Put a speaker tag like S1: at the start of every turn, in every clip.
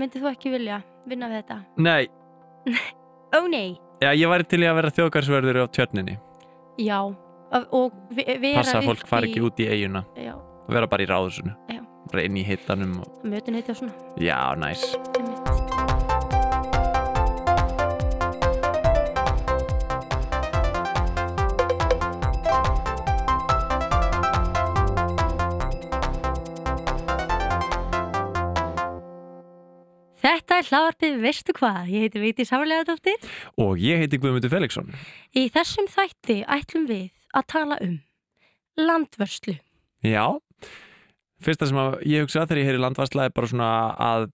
S1: Myndið þú ekki vilja vinna við þetta?
S2: Nei,
S1: Ó nei,
S2: já, ég væri til í að vera þjóðgarsverður á tjörninni
S1: já Af- og ve- vera
S2: Passa að fólk fari ekki út í eiguna
S1: í já,
S2: og vera bara í ráðusinu
S1: Já.
S2: bara inn í hittanum og...
S1: mötun heiti og svona
S2: Já, næs
S1: einmitt. Þetta er hlaðarpið Veistu hvað? Ég heiti Viti Sálegadóttir.
S2: Og ég heiti Guðmundur Felixson
S1: Í þessum þætti ætlum við að tala um landvörslu.
S2: Já, fyrsta sem að ég hugsa þegar ég heyri landvarsla er bara svona að,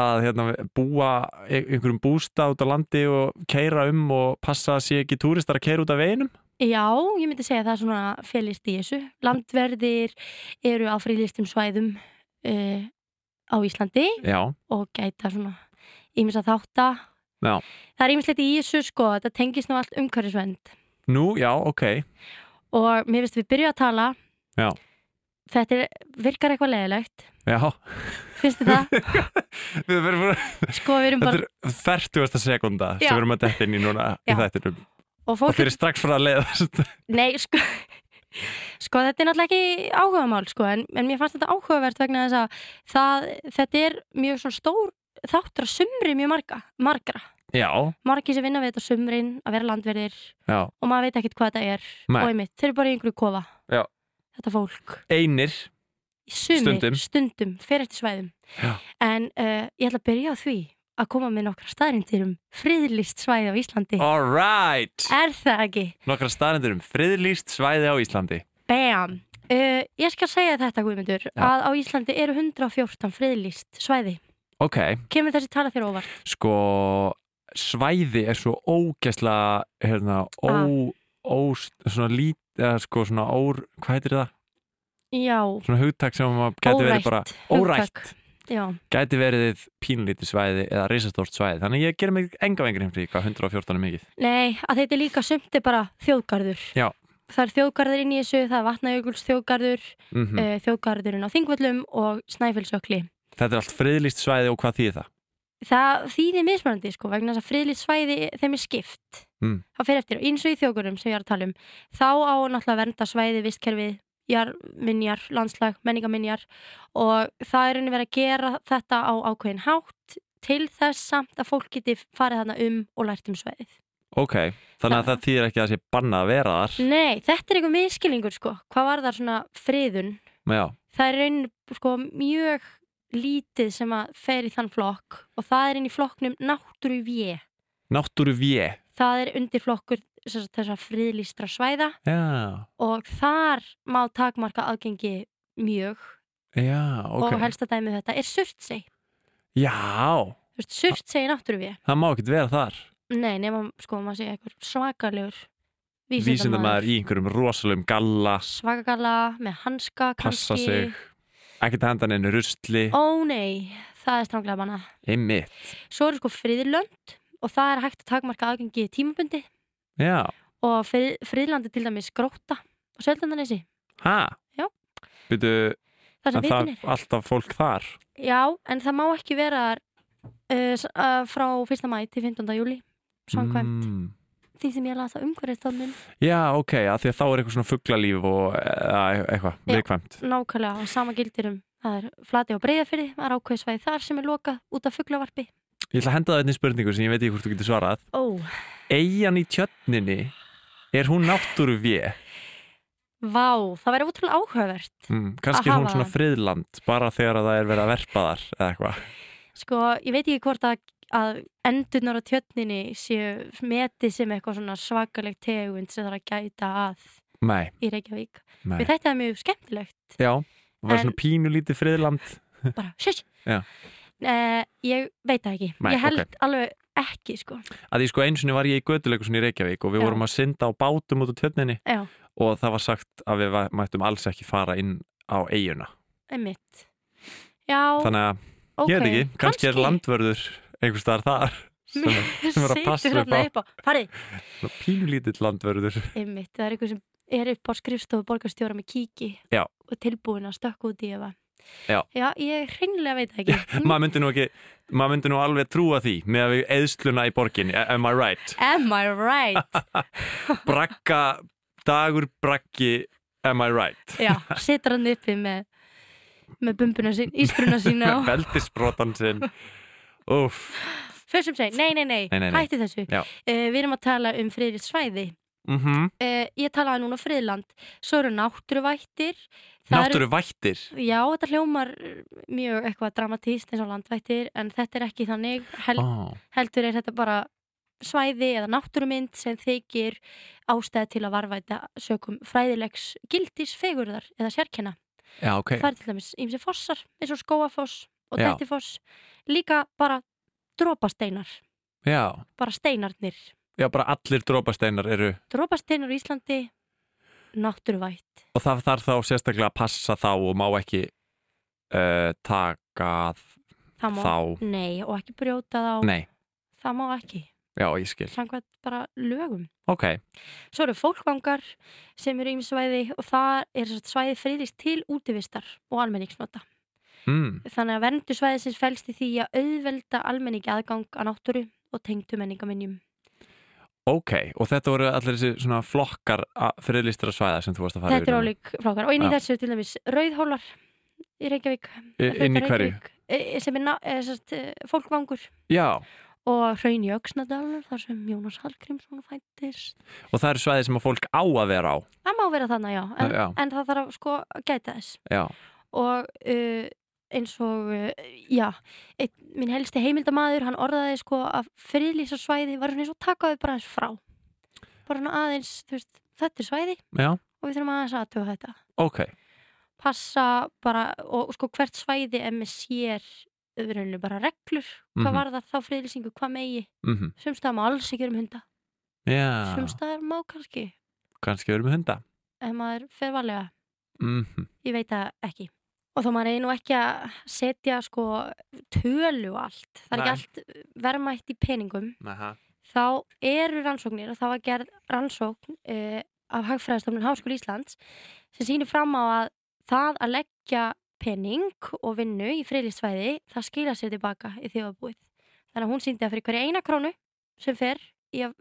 S2: að hérna, búa ein- einhverjum bústa út á landi og keira um og passa að sé ekki túristar að keira út af veginum.
S1: Já, ég myndi segja að það svona félist í þessu. Landverðir eru á frílistum svæðum uh, á Íslandi
S2: Já,
S1: og gæta svona ímins að þátta.
S2: Já.
S1: Það er ímislegt í þessu sko, þetta tengist nú allt umhverfisvend
S2: nú, já, ok.
S1: og mér finnst við byrja að tala.
S2: Já. Þetta
S1: er, virkar eitthvað leðilegt,
S2: Já,
S1: finnst þið það?
S2: við verðum bara,
S1: Sko við erum
S2: þetta
S1: bara,
S2: er færtugasta sekunda sem
S1: Já.
S2: við erum að detta inn í núna
S1: Já.
S2: í þættinum.
S1: og
S2: Og
S1: fólk,
S2: þeir eru strax frá að leiðast.
S1: nei sko, sko þetta er náttúrulega ekki áhugamál sko en, en mér fannst þetta áhugavert vegna þess að það, þetta er mjög svona stór þáttur að sumri mjög marga, margra.
S2: Já,
S1: Margi sem vinna við þetta á sumrin að vera landverðir
S2: já,
S1: og maður veit ekkert hvað þetta er
S2: Nei.
S1: og einmitt, þeir eru bara í einhverju kofa,
S2: Já.
S1: þetta fólk.
S2: einir.
S1: Sumir,
S2: Stundum.
S1: stundum, fer eftir svæðum
S2: Já.
S1: en uh, ég ætla að byrja á því að koma með nokkra staðrindir um friðlist svæði á Íslandi
S2: All right.
S1: er það ekki?
S2: Nokkra staðendur um friðlýst svæði á Íslandi.
S1: Bam! Uh, ég skal segja þetta Guðmundur
S2: Já.
S1: að á Íslandi eru 114 friðlist svæði
S2: Ok,
S1: kemur þessi tala þér á óvart?
S2: sko svæði er svo ógæsla hérna, ó,
S1: Ah.
S2: ó svona lít eða sko svona ór, hvað heitir það?
S1: Já,
S2: Svona hugtak sem að gæti verið bara órætt,
S1: hugtak. Já,
S2: gæti verið pínlítið svæði eða risastórt svæði þannig að ég gerir mig enga vengri heimfri hvað 114 er mikið
S1: nei, að þetta er líka sumt er bara þjóðgarður
S2: Já.
S1: Það er þjóðgarður inn í þessu, það er vatnajökuls þjóðgarður,
S2: mm
S1: mm. þjóðgarðurinn á Þingvöllum og Snæfellsökli.
S2: Þetta er allt friðlýst svæði og hvað þýðir það?
S1: það þýðir mismunandi sko vegna þess að friðlýtt svæði þeim er skipt
S2: Mm.
S1: það fer eftir og eins og í þjókurum sem ég er að tala um þá á náttúrulega að vernda svæði vistkerfið, jarminjar, landslag menningaminjar og það er henni verið að gera þetta á ákveðin hátt til þess samt að fólk geti farið þarna um og lært um svæðið
S2: Ok, þannig að
S1: Það-
S2: það þýðir ekki að það sé bannað að vera þar
S1: Nei, þetta er einhver miskilingur sko hvað var það svona friðun
S2: Já,
S1: það er einn sko mjög lítið sem að fer í þann flokk og það er inn í flokknum náttúru
S2: náttúru vje
S1: það er undirflokkur þessar friðlýstra svæða
S2: Já,
S1: og þar má takmarka aðgengi mjög
S2: já, ok
S1: og helsta dæmið þetta er surtsei
S2: Já,
S1: surtsei í náttúruvið
S2: það má ekkert vera þar
S1: nei, nema sko maður segja eitthvað svakalegur
S2: Vísindamaður
S1: vísindamaður
S2: í einhverjum rosalum galla
S1: svakagala með hanska
S2: passa
S1: kannski.
S2: sig ekkert að henda henni rusli
S1: ó nei, það er stranglega manna
S2: einmitt,
S1: svo eru sko friðlönd og það er hægt að takmarka aðgengi tímabundi
S2: já,
S1: og frið, friðlandi til dæmis gróta og söldandanesi
S2: ha
S1: Já.
S2: Býtu,
S1: það sem
S2: en það
S1: vitin er
S2: er alltaf fólk þar
S1: Já, en það má ekki vera þar uh, s- uh, frá 1. mæ til 15. júli samkvæmt
S2: Mm.
S1: því sem ég las á umhverfistofnun
S2: já, ok, að því að þá er eitthvað svona fugglalíf og eða eitthvað,
S1: Já.
S2: viðkvæmt
S1: nákvæmlega og sama gildir um það er flati á breyðafyrði, það er ákveðsvæði þar sem er lokað út af fugglavarpi
S2: ég ætla að henda það einnig spurningu sem ég veit ekki hvort þú getur svarað
S1: Ó,
S2: eigjan í tjötninni er hún náttúru við
S1: vá, það væri útrúlega áhugavert
S2: mm,
S1: Að
S2: kannski er hún
S1: hafa
S2: svona
S1: það.
S2: friðland bara þegar að það er verið að verpa þar eða eitthvað,
S1: Sko, ég veit ekki hvort að, að endurnar á tjötninni séu metið sem eitthvað svona svakaleg tegund sem þarf að gæta að
S2: nei,
S1: í Reykjavík
S2: nei
S1: Við þetta er mjög skemmtilegt
S2: já, það var
S1: En-
S2: svona pínu lítið friðland
S1: bara, sjöss
S2: Já.
S1: Ég veit það ekki,
S2: Nei,
S1: ég held alveg ekki sko
S2: að því sko eins og var ég í götuleikusin í Reykjavík og við
S1: Já.
S2: vorum að synda á bátum út á tjörninni
S1: Já,
S2: og það var sagt að við va- mættum alls ekki fara inn á eiguna
S1: einmitt Já,
S2: þannig að
S1: ok
S2: ég veit ekki, kannski, er landvörður einhvers staðar þar sem er sem er að passa
S1: Situr
S2: upp á.
S1: þarna upp á Farið,
S2: svona pínlítill landvörður
S1: einmitt, það er einhver sem er upp á skrifstofu borgarstjóra með kíki
S2: Já.
S1: og tilbúin að stökka út í ef að
S2: Já.
S1: ég hreinlega veit það ekki
S2: maður myndi nú ekki maður myndi nú alveg trúa því með að við eðsluna í borgin, am I right
S1: Am I right?
S2: brakka, dagur brakki am I right
S1: Já, situr hann uppi með með bumbuna sín, ísbruna sína og
S2: veldisbrotan sinn uff,
S1: fyrir sem segir, nei, nei, nei,
S2: Nei, nei, nei.
S1: hætti þessu
S2: Já.
S1: uh, við erum að tala um friðrið svæði
S2: mhm
S1: uh, ég talaði núna um friðland svo eru náttúruvættir Það eru-
S2: náttúru vættir
S1: Já, þetta hljómar eh, mjög eitthvað dramatíst eins og landvættir en þetta er ekki þannig Hel,
S2: oh.
S1: heldur er þetta bara svæði eða náttúrumynd sem þykir ástæði til að varvæta sökum fræðilegs gildis fegurðar eða sérkenna.
S2: já, ok,
S1: Það er til dæmis ímsi fossar eins og skóafoss og
S2: Já.
S1: dettifoss líka bara drópasteinar
S2: já
S1: bara steinarnir.
S2: já, bara allir drópasteinar eru
S1: Drópasteinar á Íslandi náttúruvætt.
S2: og það þarf þá sérstaklega að passa þá og má ekki uh, taka
S1: Það má,
S2: þá
S1: nei, og ekki brjóta þá
S2: nei,
S1: það má ekki,
S2: já, ég skil
S1: samkvæmt bara lögum.
S2: ok,
S1: Svo eru fólkvangar sem eru ímsvæði og það er sem sagt svæði friðlist til útivistar og almenningsnota.
S2: mm.
S1: Þannig að verndu svæðisins fælst í því að auðvelda almenningi aðgang að náttúru og tengdu menningaminjum.
S2: Ok, og þetta voru allir þessi svona flokkar friðlistra svæða sem þú varst að fara
S1: Þetta er
S2: yfir núna.
S1: ólík frákar. Og inn í
S2: Já.
S1: þessu er til dæmis rauðhólar í Reykjavík.
S2: Í- Inn í
S1: hluta
S2: hverju?
S1: Reykjavík, eh, Sem er, na- eh, sem sagt, eh, fólkvangur
S2: Já,
S1: og hraun í Öxnadalur þar sem Jónas Hallgrímsson fættist.
S2: og það eru svæði sem að fólk á að vera á.
S1: Það má vera þannig, já. En,
S2: Já.
S1: en það þarf að sko að gæta þess.
S2: Já,
S1: og uh, eins og uh, já, eitt, minn helsti heimildamaður hann orðaði sko að friðlýsa svæði var svona eins og takaði bara aðeins frá bara svona aðeins, þú veist, þetta er svæði
S2: já,
S1: og við þurfum aðeins aðtöfa þetta
S2: ok.
S1: passa bara, og sko hvert svæði er með sér öðrunni bara reglur, hvað
S2: Mhm.
S1: var það þá friðlýsingu, hvað megi,
S2: Mm
S1: sumstaðar má alls ekki vera um hunda,
S2: Já,
S1: sumstaðar má kannski,
S2: kannski verðum við hunda.
S1: ef maður fer varlega
S2: Mm
S1: Ég veit það ekki. Og þá maður er nú ekki að setja sko tölu á allt. Það er
S2: Nei.
S1: ekki allt uh, verðmætt í peningum. Þá eru rannsóknir og það var gerð rannsókn uh, af Hagfræðastofnun Háskóli Íslands sem sýnir fram á að það að leggja pening og vinnu í friðlisvæði, það skila sér tilbaka í þjóðabúið. Þannig að hún sýndi að fyrir hverja eina krónu sem fer í að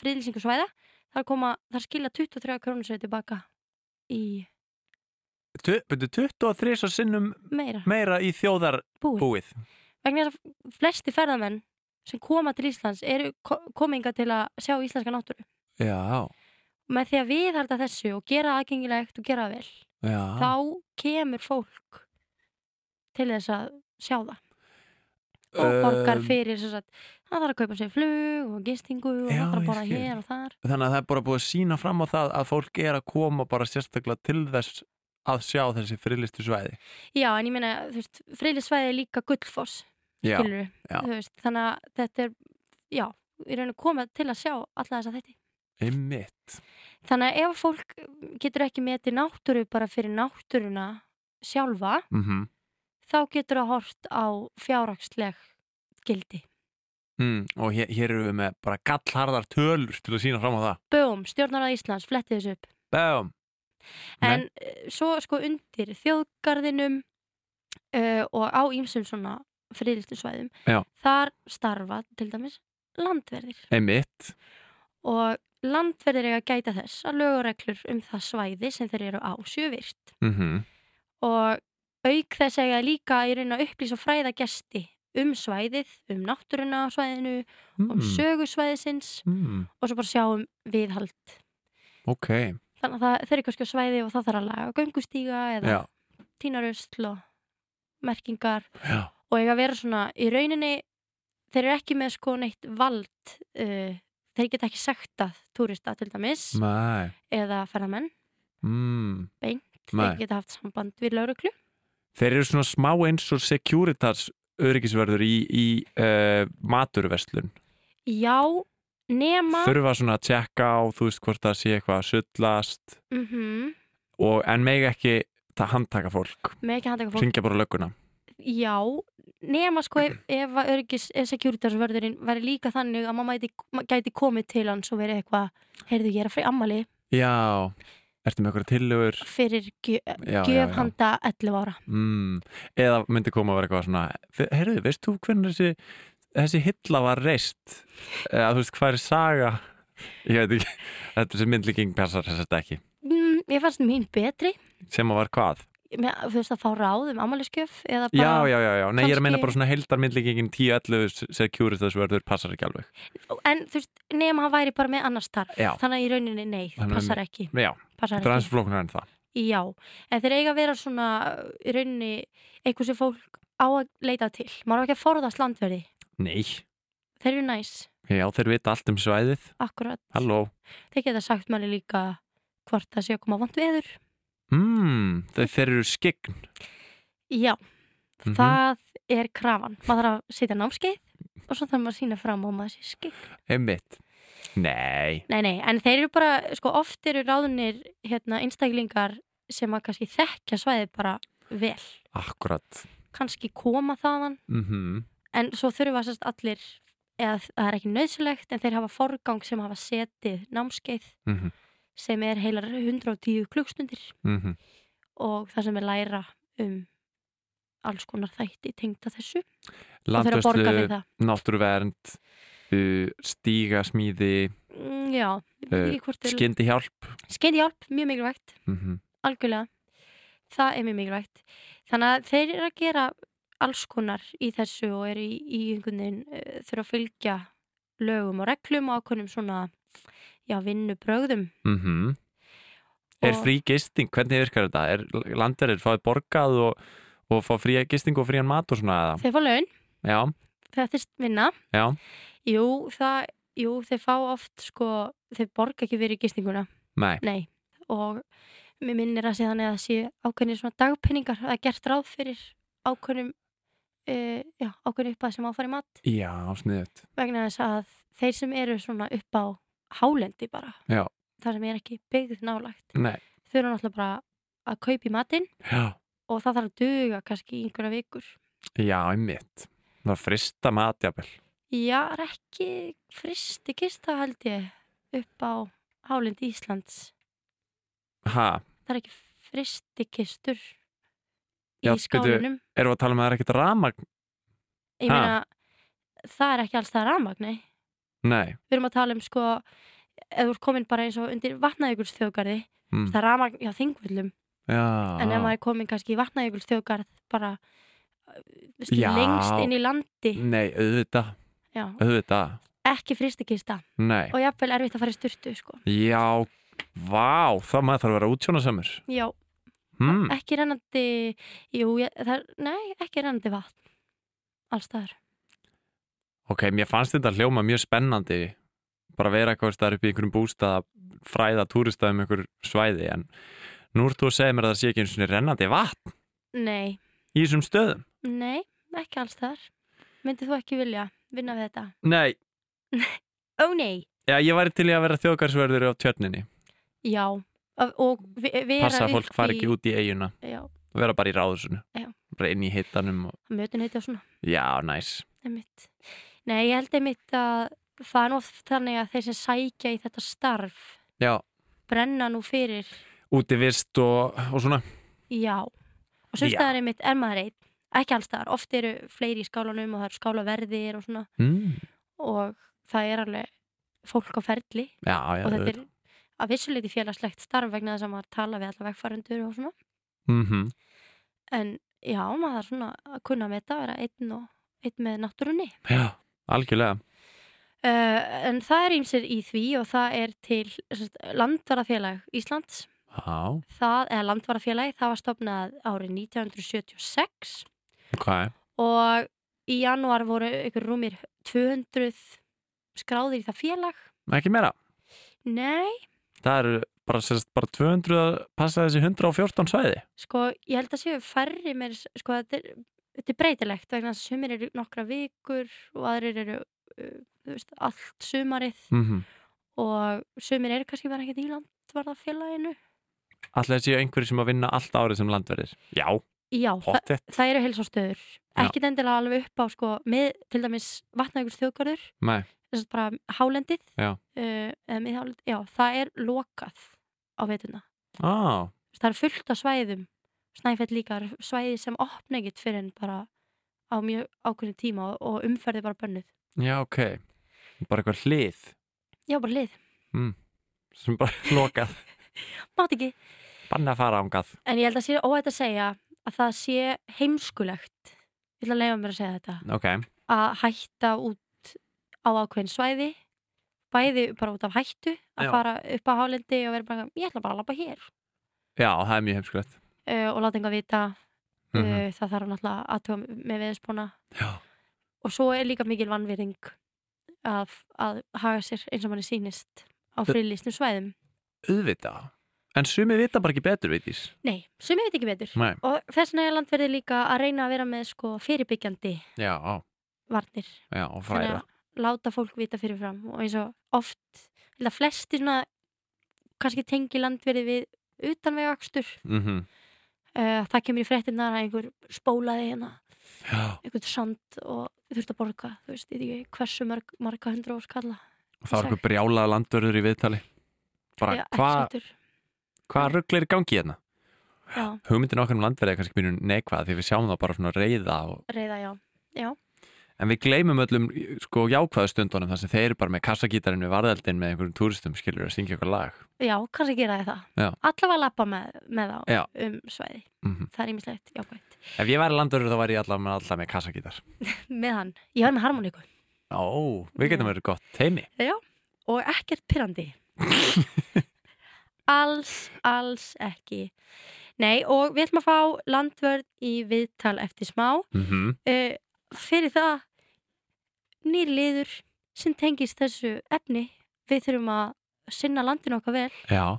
S1: friðlýsingu svæða, þar, koma, þar skila 23 krónu sér tilbaka í
S2: Byrju 23 svo sinnum
S1: meira
S2: meira í þjóðarbúið.
S1: búið. vegna þess að flesti ferðamenn sem koma til Íslands eru ko- kominga til að sjá íslenska náttúru
S2: Já,
S1: með því að viðhalda þessu og gera það aðgengilegt og gera það vel
S2: já.
S1: þá kemur fólk til þess að sjá það og borgar fyrir þess að það þarf að kaupa sér flug og gistingu og
S2: Já,
S1: það þarf að
S2: ég
S1: borða
S2: skil.
S1: hér og þar
S2: Þannig að það er bara búið að sína fram á það að fólk er að koma bara sérstaklega til þess að sjá þessi friðlistu svæði.
S1: já en ég meina þú veist friðlisvæði er líka gullfoss
S2: Já,
S1: skilur
S2: já.
S1: veist, þannig að þetta er já, í rauninu komið til að sjá alla þess að þetta
S2: einmitt.
S1: Þannig að ef fólk getur ekki metið náttúru bara fyrir náttúruna sjálfa,
S2: Mm
S1: þá getur það hort á fjárhagsleg gildi.
S2: Mm, og hér, hér eru við með bara gallharðar tölur til að sína fram á það.
S1: Böum, stjórnarað Íslands, flettið þessu upp.
S2: Bæm!
S1: En Nei. svo sko undir þjóðgarðinum uh, og á ýmsum svona friðlistusvæðum,
S2: Já.
S1: þar starfa til dæmis landverðir.
S2: Einmitt.
S1: Og landverðir eiga að gæta þess að lögureglur um það svæði sem þeir eru á sjövirt.
S2: Mm
S1: og auk þess að ég líka í raun að upplýsa og fræða gesti um svæðið, um náttúruna á svæðinu, um
S2: Hmm.
S1: sögusvæðisins
S2: mm,
S1: og svo bara sjáum viðhald.
S2: Ok,
S1: Þannig að það, þeir eru kannski á svæði og það þarf að laga göngustíga eða
S2: já.
S1: tínarusl og merkingar
S2: já.
S1: og eiga að vera svona í rauninni, þeir eru ekki með sko neitt vald, uh, þeir geta ekki sektað túrista til dæmis
S2: Mæ.
S1: eða ferðamenn,
S2: Mm.
S1: Beint.
S2: Mæ.
S1: þeir geta haft samband við lauruglu.
S2: Þeir eru svona smá eins og securitas öryggisverður í, í uh, maturverslun.
S1: Já, nema...
S2: Þurfa svona að tjekka á, þú veist hvort það sé eitthvað að sullast
S1: Mm
S2: og en megi ekki það handtaka fólk.
S1: með ekki handtaka fólk
S2: Ringja bara lögguna.
S1: já, nema sko ef, ef að örgis, ef securitarsvörðurinn væri líka þannig að maður mæti, ma- gæti komið til hans og verið eitthvað heyrðu ég er að frí ammali
S2: Já. Ertu með okkur tillögur?
S1: fyrir gjöf,
S2: Já, já, já.
S1: gjöf handa 11 ára
S2: Mm. Eða myndi koma að vera eitthvað svona Herðu, veist þú hvernig þessi, þessi hilla var reist? Eða þú veist, hvað er saga? Ég veit ekki, þetta sem myndlíking passar þess að ekki.
S1: mm, ég fannst mín betri
S2: Sem að var hvað?
S1: með, þú veist að fá ráð um ammælisgjöf eða bara,
S2: Já, já, já, já. Nei, ég er að meina
S1: kannski-
S2: bara svona heildar myndlíkingin 10-11 security þessu verður passar ekki alveg.
S1: en þú veist, nema hann væri bara með annars starf
S2: Já.
S1: þannig að í rauninni nei,
S2: Þannig að-
S1: passar ekki,
S2: Já,
S1: passar
S2: þetta er aðeins
S1: ekki.
S2: flóknar en það.
S1: Já, en þeir eiga að vera svona uh, í rauninni eitthvað sem fólk á að leita til maður á ekki að forðast landverði
S2: Nei,
S1: þeir eru næs,
S2: já, þeir vita allt um svæðið.
S1: akkurat
S2: Halló.
S1: þeir geta sagt manni líka hvort það sé að koma vond veður
S2: Mm, þeir, þeir eru skign.
S1: Já,
S2: Mhm.
S1: það er krafan maður þarf að setja námskeið og svo þarf maður að sína fram á maður sér skik
S2: Einmitt. Nei.
S1: Nei, nei, en þeir eru bara, sko, oft eru ráðunir hérna, einstaklingar sem að kannski þekkja svæðið bara vel.
S2: Akkurat.
S1: Kannski koma þaðan,
S2: Mm
S1: en svo þurfa sérst allir, eða það er ekki nöðsilegt, en þeir hafa forgang sem hafa setið námskeið
S2: Mhm.
S1: sem er heilar 110 klukkstundir og það sem er læra um alls konar þætti tengda þessu og þeir að borga fyrir
S2: Landvöslu,
S1: það.
S2: náttúruvernd, uh, stígasmíði,
S1: Mm, Já,
S2: Eh,
S1: uh, til...
S2: skyndi hjálp.
S1: skeindi hjálp, mjög mikilvægt.
S2: Mm
S1: algjörlega það er mjög mikilvægt þannig að þeir eru að gera alls konar í þessu og eru í, í einhvern veginn uh, þurfa að fylgja lögum og reglum og ákveðnum svona já, vinnu brögðum
S2: mhm. Er
S1: Og-
S2: frí gisting, hvernig virkar þetta? Er landverðir fáið borgað og, og fá frí gisting og frían mat og svona eða?
S1: þeir fá laun,
S2: Já,
S1: þetta er vinna
S2: já,
S1: jú, það, jú, þeir fá oft sko, þeir borga ekki verið gistinguna
S2: nei,
S1: nei, og mér minnir að sé þannig að sé ákveðnir svona dagpenningar að gert ráð fyrir ákveðnum uh, já, ákveðnum upp að sem áfæri mat
S2: já, sniðut.
S1: vegna þess að þeir sem eru svona upp á hálendi bara,
S2: Já.
S1: þar sem er ekki byggð nálægt,
S2: Nei,
S1: þau eru náttúrulega bara að kaupa í matinn
S2: já,
S1: og það þarf að duga kannski í einhverja vikur.
S2: já, einmitt. Það var frista mat, jafnvel.
S1: Já, er ekki fristi kista held ég upp á hálendi Íslands.
S2: Ha,
S1: Það er ekki fristi kistur í
S2: Já, bíddu.
S1: skálinum.
S2: erum við að tala um að það er ekkert ramagn?
S1: Ég meina, það er ekki alls það rafmagn, nei.
S2: Nei,
S1: Við erum að tala um sko, ef þú ert komin bara eins og undir vatnaðjökuls þjóðgarði,
S2: mm. Ah.
S1: það er rafmagn hjá þingvöllum.
S2: já.
S1: en ef maður er komin kannski í vatnajökuls þjóðgarð bara uh, skil,
S2: Já. Mm.
S1: lengst inn í landi
S2: Nei, auðvitað,
S1: já,
S2: auðvitað,
S1: ekki fristikista
S2: nei.
S1: og jafnvel erfitt að fara í styrtu sko.
S2: Já, vá, það maður þarf að vera útsjónasamur.
S1: já,
S2: Hmm.
S1: ekki rennandi jú, ég, það, er- nei, ekki rennandi vatn allstaðar
S2: Ok, mér fannst þetta hljóma mjög spennandi bara vera eitthvað staðar upp í einhverjum bústað að fræða túrista um einhver svæði en nú ert þú að segja mér að það sé ekki einu svona rennandi vatn
S1: nei,
S2: í þessum stöðum
S1: nei, ekki allstaðar myndið þú ekki vilja vinna við þetta
S2: Nei,
S1: ó nei,
S2: já, ég væri til í að vera þjóðgarsverður á tjörninni
S1: já Af- og vi- vera
S2: passa að fólk fari ekki út í eiguna
S1: já,
S2: og vera bara í ráðursunu
S1: Já.
S2: bara inn í hittanum og...
S1: mötun heiti á svona
S2: Já, næs
S1: Einmitt. Nei, ég held einmitt að það er nú oft þannig að þeir sem sækja í þetta starf
S2: Já,
S1: brenna nú fyrir,
S2: úti vist og, og svona
S1: já. Og
S2: Já.
S1: sumstaðar einmitt er maður einn, ekki allstaðar, oft eru fleiri í skálanum og það eru skálaverðir og svona
S2: mm.
S1: og það er alveg fólk á ferli
S2: Já, já,
S1: og þetta er að vissuleiti félagslegt starf vegna þess að maður tala við alla vegfærendur og svona.
S2: mm -hmm.
S1: En já, maður er svona að kunna með þetta að vera einn og einn með náttúrunni.
S2: Já, algjörlega
S1: Uh, en það er ímsir í því og það er til sem sagt, Landvarafélag Íslands
S2: Já,
S1: það, eða Landvarafélagi, það var stopnað árið 1976
S2: ok
S1: og í janúar voru ykkur rúmir 200 skráðir í það félag
S2: Ekki meira
S1: Nei,
S2: Það eru bara, sérst, bara 200 að passa þessi 114 svæði.
S1: sko, ég held að séu færri mér, sko, þetta er, þetta er breytilegt vegna þess að sumir eru nokkra vikur og aðrir eru, uh, þú veist, allt sumarið
S2: Mm -hmm.
S1: og sumir eru kannski bara ekkert í Landvarafélaginu
S2: Alltaf séu einhverjir sem að vinna allt árið sem landverðir. Já,
S1: Já, það,
S2: pottet.
S1: það eru heilsástöður ekki endilega alveg upp á sko með, til dæmis vatnaðjökuls þjóðgarður
S2: Nei,
S1: þess að bara hálendið eh,
S2: Já.
S1: uh, eða miðhálendið, já, það er lokað á veituna
S2: Á,
S1: Þú veist, það er fullt af svæðum snæfett líka, það eru svæði sem opna ekkert fyrir en bara á mjög ákveðin tíma og, og umferði bara bönnuð
S2: já, ok. Bara eitthvað hlið
S1: já, bara lið,
S2: sem bara lokað.
S1: mátt ekki
S2: Banna að fara ángað.
S1: en ég held að sé óætt að segja að það sé heimskulegt ég ætla að leifa mér að segja þetta
S2: Ok,
S1: að hætta út á ákveðin svæði bæði bara út af hættu að
S2: Já.
S1: fara upp á hálendi og vera bara, ég ætla bara að labba hér
S2: já, það er mjög heimskulegt.
S1: uh, og láta enga vita uh,
S2: Mm
S1: það þarf náttúrulega aðtöga með veðspóna
S2: Já,
S1: og svo er líka mikil vannvering að, að haga sér eins og manni sýnist á
S2: Þe-
S1: frilýstum svæðum
S2: auðvitað. En sumi vita bara ekki betur, veitís.
S1: Nei, sem ég veit ekki betur
S2: Nei,
S1: og þess vegna er landverði líka að reyna að vera með sko fyrirbyggjandi
S2: já, á,
S1: varnir
S2: já, og
S1: Þannig
S2: fræða.
S1: að láta fólk vita fyrirfram og eins og oft ég held að flesti svona kannski tengi landverði við utanvegakstur
S2: Mm
S1: uh, það kemur í fréttinnar að einhver spólaði hérna
S2: Já,
S1: einhvern sand og þurft að borga þú veist, ég veit ekki hversu mörg, marga hundra og skalla
S2: og það var eitthvað brjálað landvörður í viðtali. Bara, hvað hva rugglir í gangi hérna?
S1: Já,
S2: Hugmyndin okkar um landverði er kannski mjög neikvað því við sjáum það bara svona reyða og
S1: reyða, já
S2: En við gleymum öllum sko jákvæðu stundunum þar sem þeir eru bara með kassagítarinn við varðeldin með einhverjum túristum skilur að syngja eitthvað lag.
S1: Já, kannski gera ég það.
S2: Já.
S1: Allavega lappa með, með þá
S2: Já.
S1: um svæði.
S2: Mhm.
S1: Það er ýmislegt jákvæmt.
S2: Ef ég væri landurur þá væri ég allavega með, allavega með kassagítar.
S1: Með hann. Ég var með harmoníku.
S2: Ó, við getum
S1: Já.
S2: verið gott teimi.
S1: Og ekkert pyrrandi. alls, alls ekki. Nei, og við ætlum að fá landvörð í viðtal eftir smá.
S2: Mm
S1: Uh, fyrir það, nýr liður sem tengist þessu efni. Við þurfum að sinna landinu okkar vel.
S2: Já,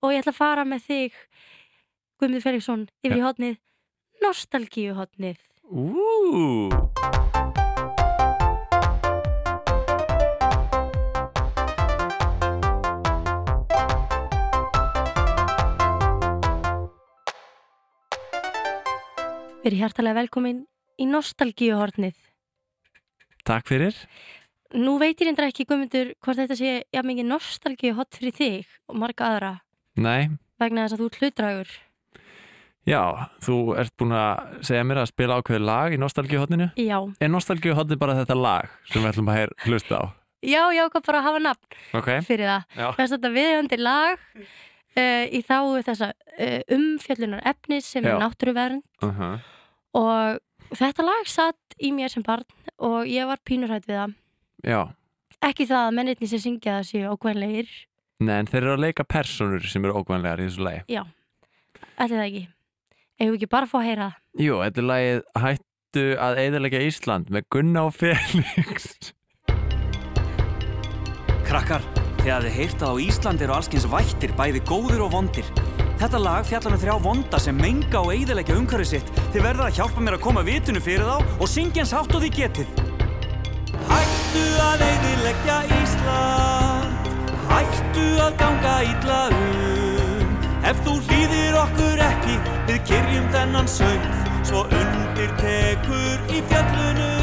S1: og ég ætla að fara með þig Guðmundur Felixson yfir í hotnið Nostalgíu hotnið
S2: ú,
S1: Verið hjartalega velkomin í Nostalgíu hotnið
S2: takk fyrir.
S1: Nú veitir enda ekki Guðmundur hvort þetta sé jafn mikið Nostalgíu hot fyrir þig og marga aðra
S2: Nei,
S1: vegna þess að þú ert hlutdragur
S2: já, þú ert búin að segja mér að spila ákveðið lag í nostalgíuhotninu.
S1: Já,
S2: Er nostalgíuhotni bara þetta lag sem við ætlum að heyr hlusta á?
S1: já, já, hvað bara að hafa nafn
S2: Ok,
S1: fyrir það
S2: já.
S1: Mér finnst þetta viðjöndi lag uh, í þáu þessa uh, umfjöllunar efnis sem
S2: Já.
S1: er náttúruvernd
S2: Uh -huh.
S1: og þetta lag satt í mér sem barn og ég var pínurhætt við það
S2: Já,
S1: ekki það að mennirni sem syngja það séu ókvæmlegir
S2: Nei, en þeir eru að leika personur sem eru ógvænlegar í þessu lagi.
S1: allir það ekki ef við ekki bara að fá að heyra það
S2: Jú, þetta er lagið Hættu að eiðalega Ísland með Gunna og Felix.
S3: Krakkar, þegar þið heyrta á Ísland eru allskyns vættir, bæði góðir og vondir. Þetta lag fjallar um þrjá vonda sem menga og eiðilegja umhverfið sitt. Þið verða að hjálpa mér að koma vitinu fyrir þá og syngja eins hátt og þið getið. Hættu að eiðilegja Ísland, hættu að ganga illa um. Ef þú hlýðir okkur ekki, við kyrjum þennan söng, svo undir tekur í fjallunum.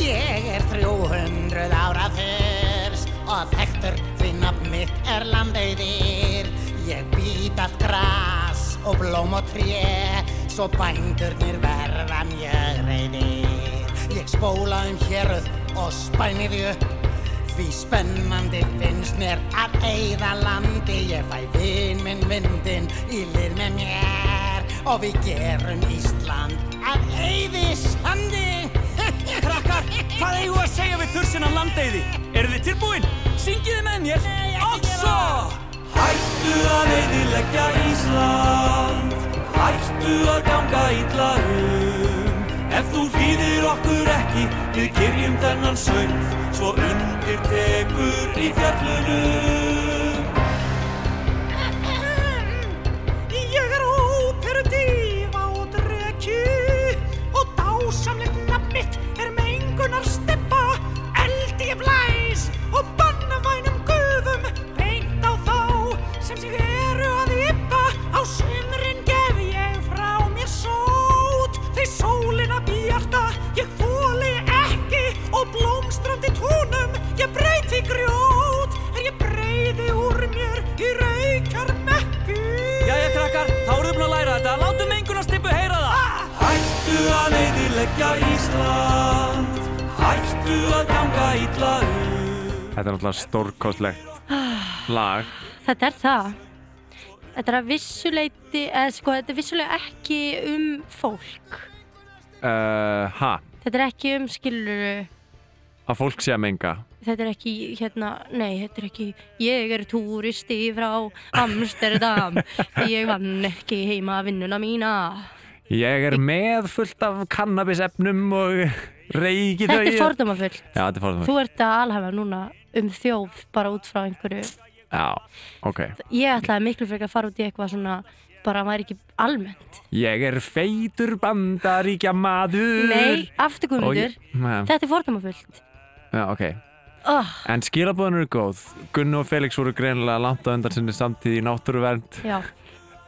S4: Ég er 300 ára fyrst og þekktur því nafn mitt er landauðir. Ég být allt gras og blóm og tré, svo bændurnir verða mjög reyðir. Ég spóla um héröð og spænir því upp, því spennandi finnst mér að eigða landi. Ég fæ vin minn vindin í lið með mér og við gerum Ísland að eigði sandi.
S3: Krakkar, hvað eigum við að segja við þursinn að landeiði? Eru þið tilbúin? Syngið þið með mér? Nei, ekki gera Hættu að eidileggja Ísland Hættu að ganga illa um Ef þú hlýðir okkur ekki Við kyrjum þennan söng Svo undir tekur í fjallunum Ég er óperudífa og dreki og dásamlegt nafn mitt er mengunar steppa eldi ég blæs og bannavænum guðum beint á þá sem sig eru að yppa á sumrin gef ég frá mér sót því sólina bjarta ég þóli ekki og blómstrandi túnum ég breyti grjót Þá eruðu búin að læra þetta, látum mengunarstippu heyra það Hættu að neyðileggja Ísland Hættu að ganga illa um. upp
S2: Þetta er náttúrulega stórkostlegt lag
S1: Þetta er það. Þetta er að vissuleiti, eða sko, þetta er vissulega ekki um fólk.
S2: uh, Ha,
S1: Þetta er ekki um skiluru,
S2: að fólk sé að menga
S1: þetta er ekki, hérna, nei, þetta er ekki, ég er túristi frá Amsterdam, ég vann ekki heima vinnuna mína.
S2: Ég er með fullt af kannabisefnum og reiki
S1: Þetta
S2: þau
S1: er fordómafullt.
S2: Já, þetta er fórtum
S1: Þú ert að alhafa núna um þjóf bara út frá einhverju.
S2: Já, ok
S1: Ég ætlaði miklu frekar að fara út í eitthvað svona, bara væri ekki almennt.
S2: Ég er feitur bandaríkja maður
S1: Nei, afturkomundur,
S2: Þetta
S1: þetta er fordómafullt.
S2: Já, ok
S1: Oh,
S2: En skilabóðan eru góð Gunn og Felix voru greinilega langt á undan sinni samtíð í náttúruvernd
S1: já,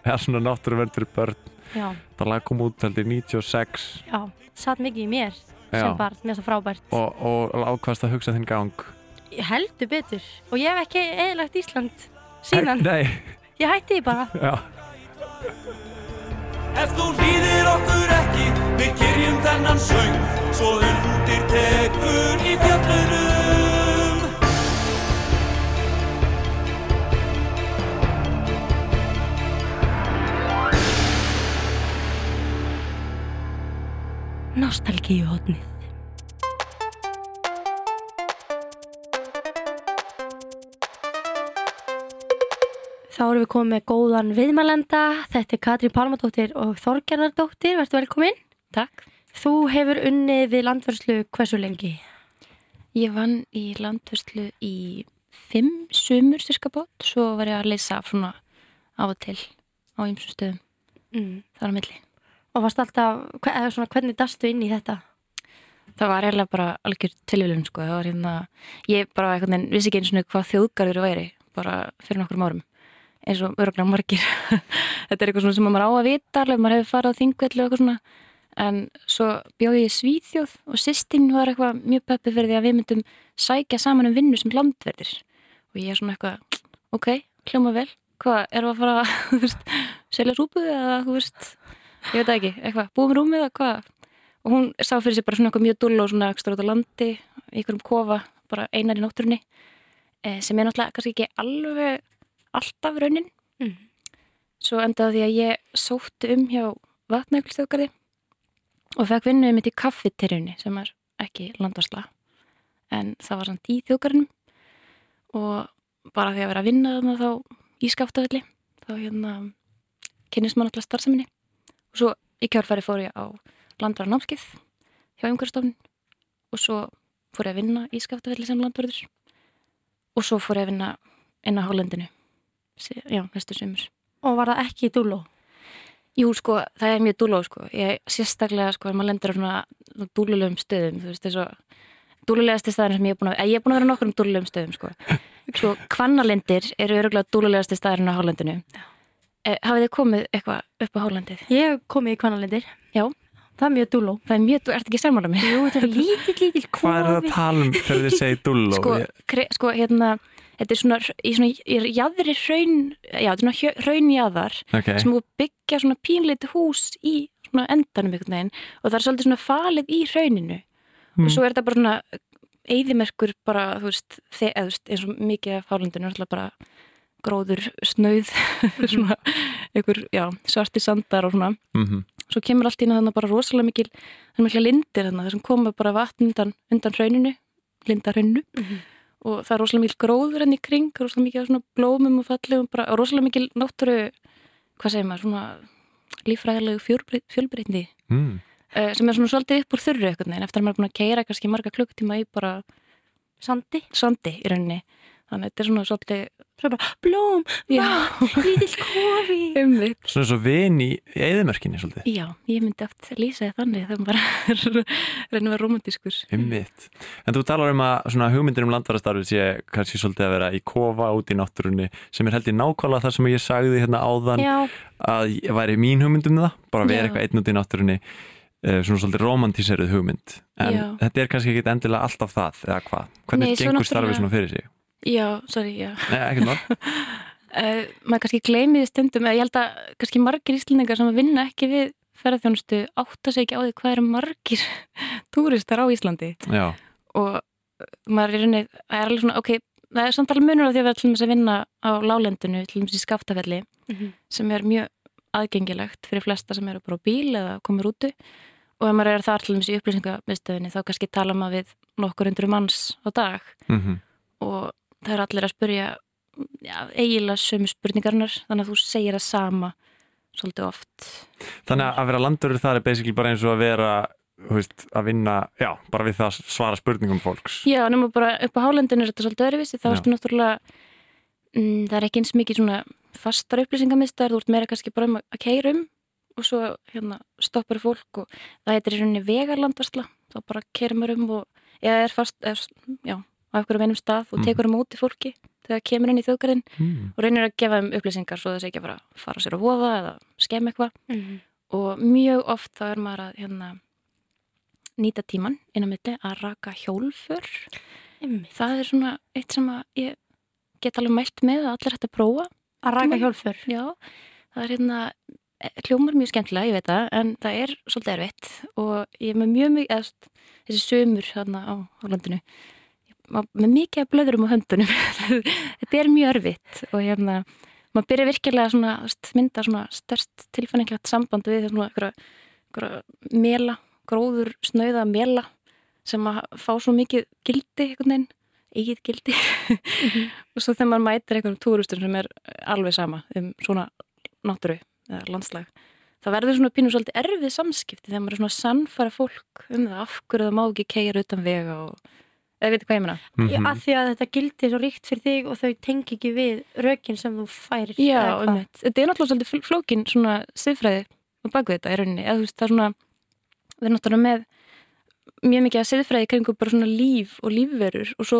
S2: eða svona náttúruvernd fyrir börn
S1: já.
S2: Það lag kom út heldur 96
S1: Já, satt mikið í mér
S2: Já.
S1: sem barn, mér er það frábært.
S2: og, og ákvast að hugsa þinn gang
S1: Ég heldur betur og ég hef ekki eðlagt Ísland síðan.
S2: Nei,
S1: Ég hætti því bara.
S2: já
S3: Ef þú hlýðir okkur ekki, við kyrjum þennan söng Svo undir tekur í fjöllunum
S1: Nostalgíu hotnið. Þá erum við komið með góðan viðmælenda. Þetta er Katrín Palmadóttir og Þorgerðardóttir. Vertu velkomin.
S5: Takk.
S1: Þú hefur unnið við landvörslu hversu lengi?
S5: Ég vann í landvörslu í fimm sumur styrka bát, svo var ég að leysa svona af og til á ymsum stöðum
S1: Mm.
S5: þar á milli.
S1: Og varst alltaf, hve- eða svona, hvernig dastu inn í þetta?
S5: Það var eiginlega bara algjör tilvílun, sko. Það var hérna, ég bara einhvern veginn, vissi ekki eins og hvað þjóðgarður væri, bara fyrir nokkrum árum, eins og öruglega margir. Þetta er eitthvað svona sem maður á að vita, alveg maður hefur farið á þingvelli og eitthvað svona. En svo bjóði ég í Svíþjóð og sýstinn var eitthvað mjög peppið fyrir því að við myndum sækja saman um vinnu sem landverðir. Og ég er svona eitthvað, ok, hljóma vel, hvað, erum við að fara að, þú veist, selja rúpuð eða, þú veist, ég veit það ekki, eitthvað, búum rúmið eða hvað? og hún sá fyrir sér bara svona eitthvað mjög dull og svona ekstra út á landi, í einhverjum kofa bara einar í náttúrunni eh, sem er náttúrulega kannski ekki alveg alltaf raunin
S1: Mhm.
S5: svo endaði því að ég sótti um hjá vatnauglistöðgarði og fekk vinnu mitt í kaffiterjunni sem er ekki landvarsla en það var samt í þjóðgarðinum og bara því að vera að vinna þarna þá í skaptafelli þá hérna kynnist maður alltaf starfseminni og svo í kjárfæri fór ég á landvara námskið hjá umhverfstofn og svo fór ég að vinna í skaptafelli sem landvörður og svo fór ég að vinna inn á hálendinu Sí- já, næstu sömur
S1: Og var það ekki í dúló?
S5: Jú, sko, það er mjög dúló, sko ég sérstaklega, sko, ef maður lendur á svona dúlulegum stöðum, þú veist, þess að dúlulegasti staðurinn sem ég er búin að að ég er búin að vera á nokkrum dúlulegum stöðum, sko Svo kvannalendir eru öruglega dúlulegasti staðurinn á hálendinu Eh, Hafið þið komið eitthvað upp á hálendið?
S1: Ég hef komið í kvanalindir.
S5: Já.
S1: Það er mjög dúló.
S5: Það er mjög, þú ert ekki sammála mér?
S1: Jú, þetta er lítill, lítill
S2: Hvað er það að
S1: kofi.
S2: tala um þegar þið segir dulló?
S5: sko, kre, sko hérna þetta er svona, í svona í jaðri hraun, já, þetta er svona hjö- hraunjaðar
S2: Ok,
S5: sem þú byggja svona pínleiti hús í svona endanum einhvern veginn og það er svolítið svona falið í hrauninu
S2: Mm.
S5: og svo er þetta bara svona eyðimerkur bara, þú veist, þe- eða, þú veist eins og mikið af hálendinu, alltaf bara gróður, snauð svona, einhver, já, svarti sandar og svona
S2: mhm
S5: svo kemur allt í hérna bara rosalega mikil það er mikla lindir þarna, þessum koma bara vatn undan, undan hrauninu, lindarhrauninu og það er rosalega mikil gróður enn í kring, rosalega mikil af svona blómum og fallegum, bara og rosalega mikil náttúru hvað segir maður, svona lífræðilegu fjölbreyt, fjölbreytni
S2: mm.
S5: eh, sem er svona svolítið upp úr þurru eitthvað en eftir að maður er búin að keira kannski marga klukkutíma í bara
S1: Sandi.
S5: sandi í rauninni þannig að þetta er svona svolítið
S1: Svo bara, blóm,
S5: já,
S1: lítill kofi.
S5: umvitt
S2: Svona svo vin í eðimörkinni svolítið
S5: Já, ég myndi oft lýsa það þannig þegar maður reynir að vera romantískur.
S2: Einmitt. En þú talar um að svona hugmyndir um landvarastarfið sé kannski svolítið að vera í kofa út í náttúrunni sem er held í nákvæmlega þar sem ég sagði hérna áðan
S1: Já,
S2: að ég væri mín hugmynd um það, bara vera
S5: Já.
S2: eitthvað einn út í náttúrunni eh, svona svolítið romantíseruð hugmynd en
S5: Já.
S2: þetta er kannski ekki endilega alltaf það eða hvað, hvernig
S5: Nei, svo
S2: gengur
S5: náttúrulega-
S2: starfið svona fyrir sig
S5: Já, sorry, já.
S2: Nei, ekkert mál,
S5: uh, maður kannski gleymiði stundum eða ég held að kannski margir íslendingar sem að vinna ekki við ferðarþjónustu átta sig ekki á því hvað eru margir túristar á Íslandi
S2: já,
S5: og eh, maður er rauninni, það er alveg svona, ok, það er samt alveg munur á því að vera til dæmis að vinna á lálendinu, til dæmis í skaftafelli
S1: Mhm.
S5: sem er mjög aðgengilegt fyrir flesta sem eru bara á bíl eða komur úti og ef maður er þar til dæmis í upplýsingamiðstöðinni þá kannski tala maður við nokkur hundru manns á dag
S2: mm
S5: og það eru allir að spurja já, eiginlega sömu spurningarnar þannig að þú segir það sama svolítið oft
S2: þannig að- að vera landurur það er basically bara eins og að vera þú veist, að vinna, já, bara við það að svara spurningum fólks
S5: Já, nema bara upp á hálendinu er þetta svolítið öðruvísi þá
S2: Já.
S5: erstu náttúrulega mm, það er ekki eins mikið svona fastar upplýsingamistar þú ert meira kannski bara um að- að keira um og svo hérna stoppar fólk og það heitir í rauninni vegarlandvarsla þá bara keira maður um og eða er fast, eða, s- já, á einhverjum einum stað og
S2: Mhm.
S5: tekur á móti fólki þegar það kemur inn í þjóðgarinn
S2: mm.
S5: og reynir að gefa þeim upplýsingar svo þess ekki að fara, fara sér að voða eða skemmi eitthvað
S1: Mhm.
S5: og mjög oft þá er maður að hérna, nýta tíman inn á milli að raka hjólfur
S1: Einmitt.
S5: það er svona eitt sem að ég get alveg mælt með að allir hægt að prófa
S1: Að raka hjólfur.
S5: já, það er hérna eh, hljómar mjög skemmtilega, ég veit það en það er svolítið erfitt og ég er með mjög mikið eða, st- þessi sömur hérna á, á landinu Ég var með mikið að blöðurum á höndunum þetta er mjög erfitt og hérna maður byrja virkilega svona þú veist, mynda svona størst tilfæninglegt samband við svona einhverja, einhverja mela, gróður snauða mela sem að fá svo mikið gildi einhvern veginn, eigið gildi og svo þegar maður mætir einhverjum túrustum sem er alveg sama um svona náttúru eða landslag það verður svona pínum svolítið erfið samskipti þegar maður er svona að sannfara fólk um það af hverju það má ekki keira utan vega og eða veitir hvað ég menna
S2: Mm
S1: Mm Af því að þetta gildi svo ríkt fyrir þig og þau tengi ekki við rökin sem þú færir.
S5: Já,
S1: eða hvað.
S5: um þetta er náttúrulega svolítið fl- flókin svona siðfræði á baku þetta í rauninni eða þú veist það er svona við erum náttúrulega með mjög mikið að siðfræði kringum bara svona líf og lífverur og svo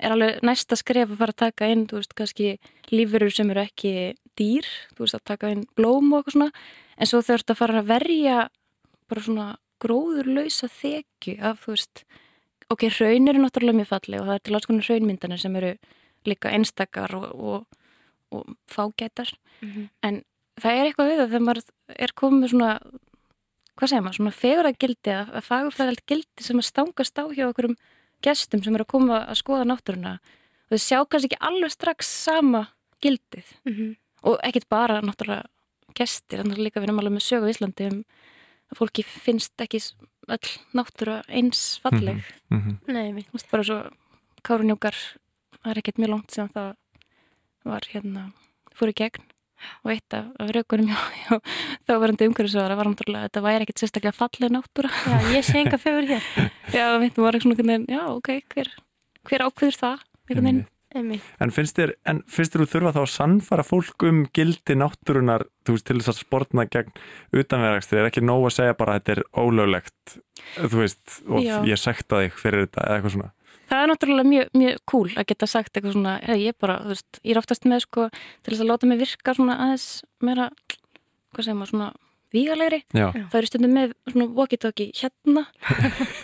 S5: er alveg næsta skref að fara að taka inn, þú veist, kannski lífverur sem eru ekki dýr, þú veist, að taka inn blóm og eitthvað svona, en svo þau ertu að fara að verja bara svona gróðurlausa þekju af, þú veist, ok, raun eru náttúrulega mjög falleg og það er til alls konar raunmyndanir sem eru líka einstakar og, og og fágætar
S1: Mhm.
S5: en það er eitthvað við það þegar maður er komið með svona hvað segir maður, svona fegurðargildi að, að fagurfræðalt gildi sem að stangast á hjá okkurum gestum sem eru að koma að skoða náttúruna og þau sjá kannski ekki alveg strax sama gildið
S1: Mhm.
S5: og ekkert bara náttúrulega gestir, þannig að líka við erum alveg með sögu á Íslandi um að fólki finnst ekki s- öll náttúra eins falleg
S2: -hmm.
S1: Nei, mitt.
S5: Þú veist, bara svo kárunjókar það er ekkert mjög langt sem það var hérna, fór í gegn og eitt af, af raukunum hjá, hjá þá verandi umhverfisvara var náttúrulega að þetta væri ekkert sérstaklega falleg náttúra
S1: Já, ég sé enga fegur hér.
S5: já, mitt var ekki svona einhvern veginn, já, ok, hver, hver ákveður það einhvern veginn,
S1: Einmitt.
S2: En finnst þér, en finnst þér þú þurfa þá að sannfara fólk um gildi náttúrunar þú veist, til þess að sportna gegn utanverðakstur, er ekki nóg að segja bara að þetta er ólöglegt, þú veist og
S5: Já.
S2: ég sekta þig fyrir þetta eða eitthvað svona
S5: það er náttúrulega mjög, mjög cool að geta sagt eitthvað svona, hei, ég bara, þú veist ég er oftast með, sko, til þess að láta mig virka svona aðeins meira hvað segir maður, svona vígalegri
S2: Já,
S5: það eru stundum með svona walkie-talkie hérna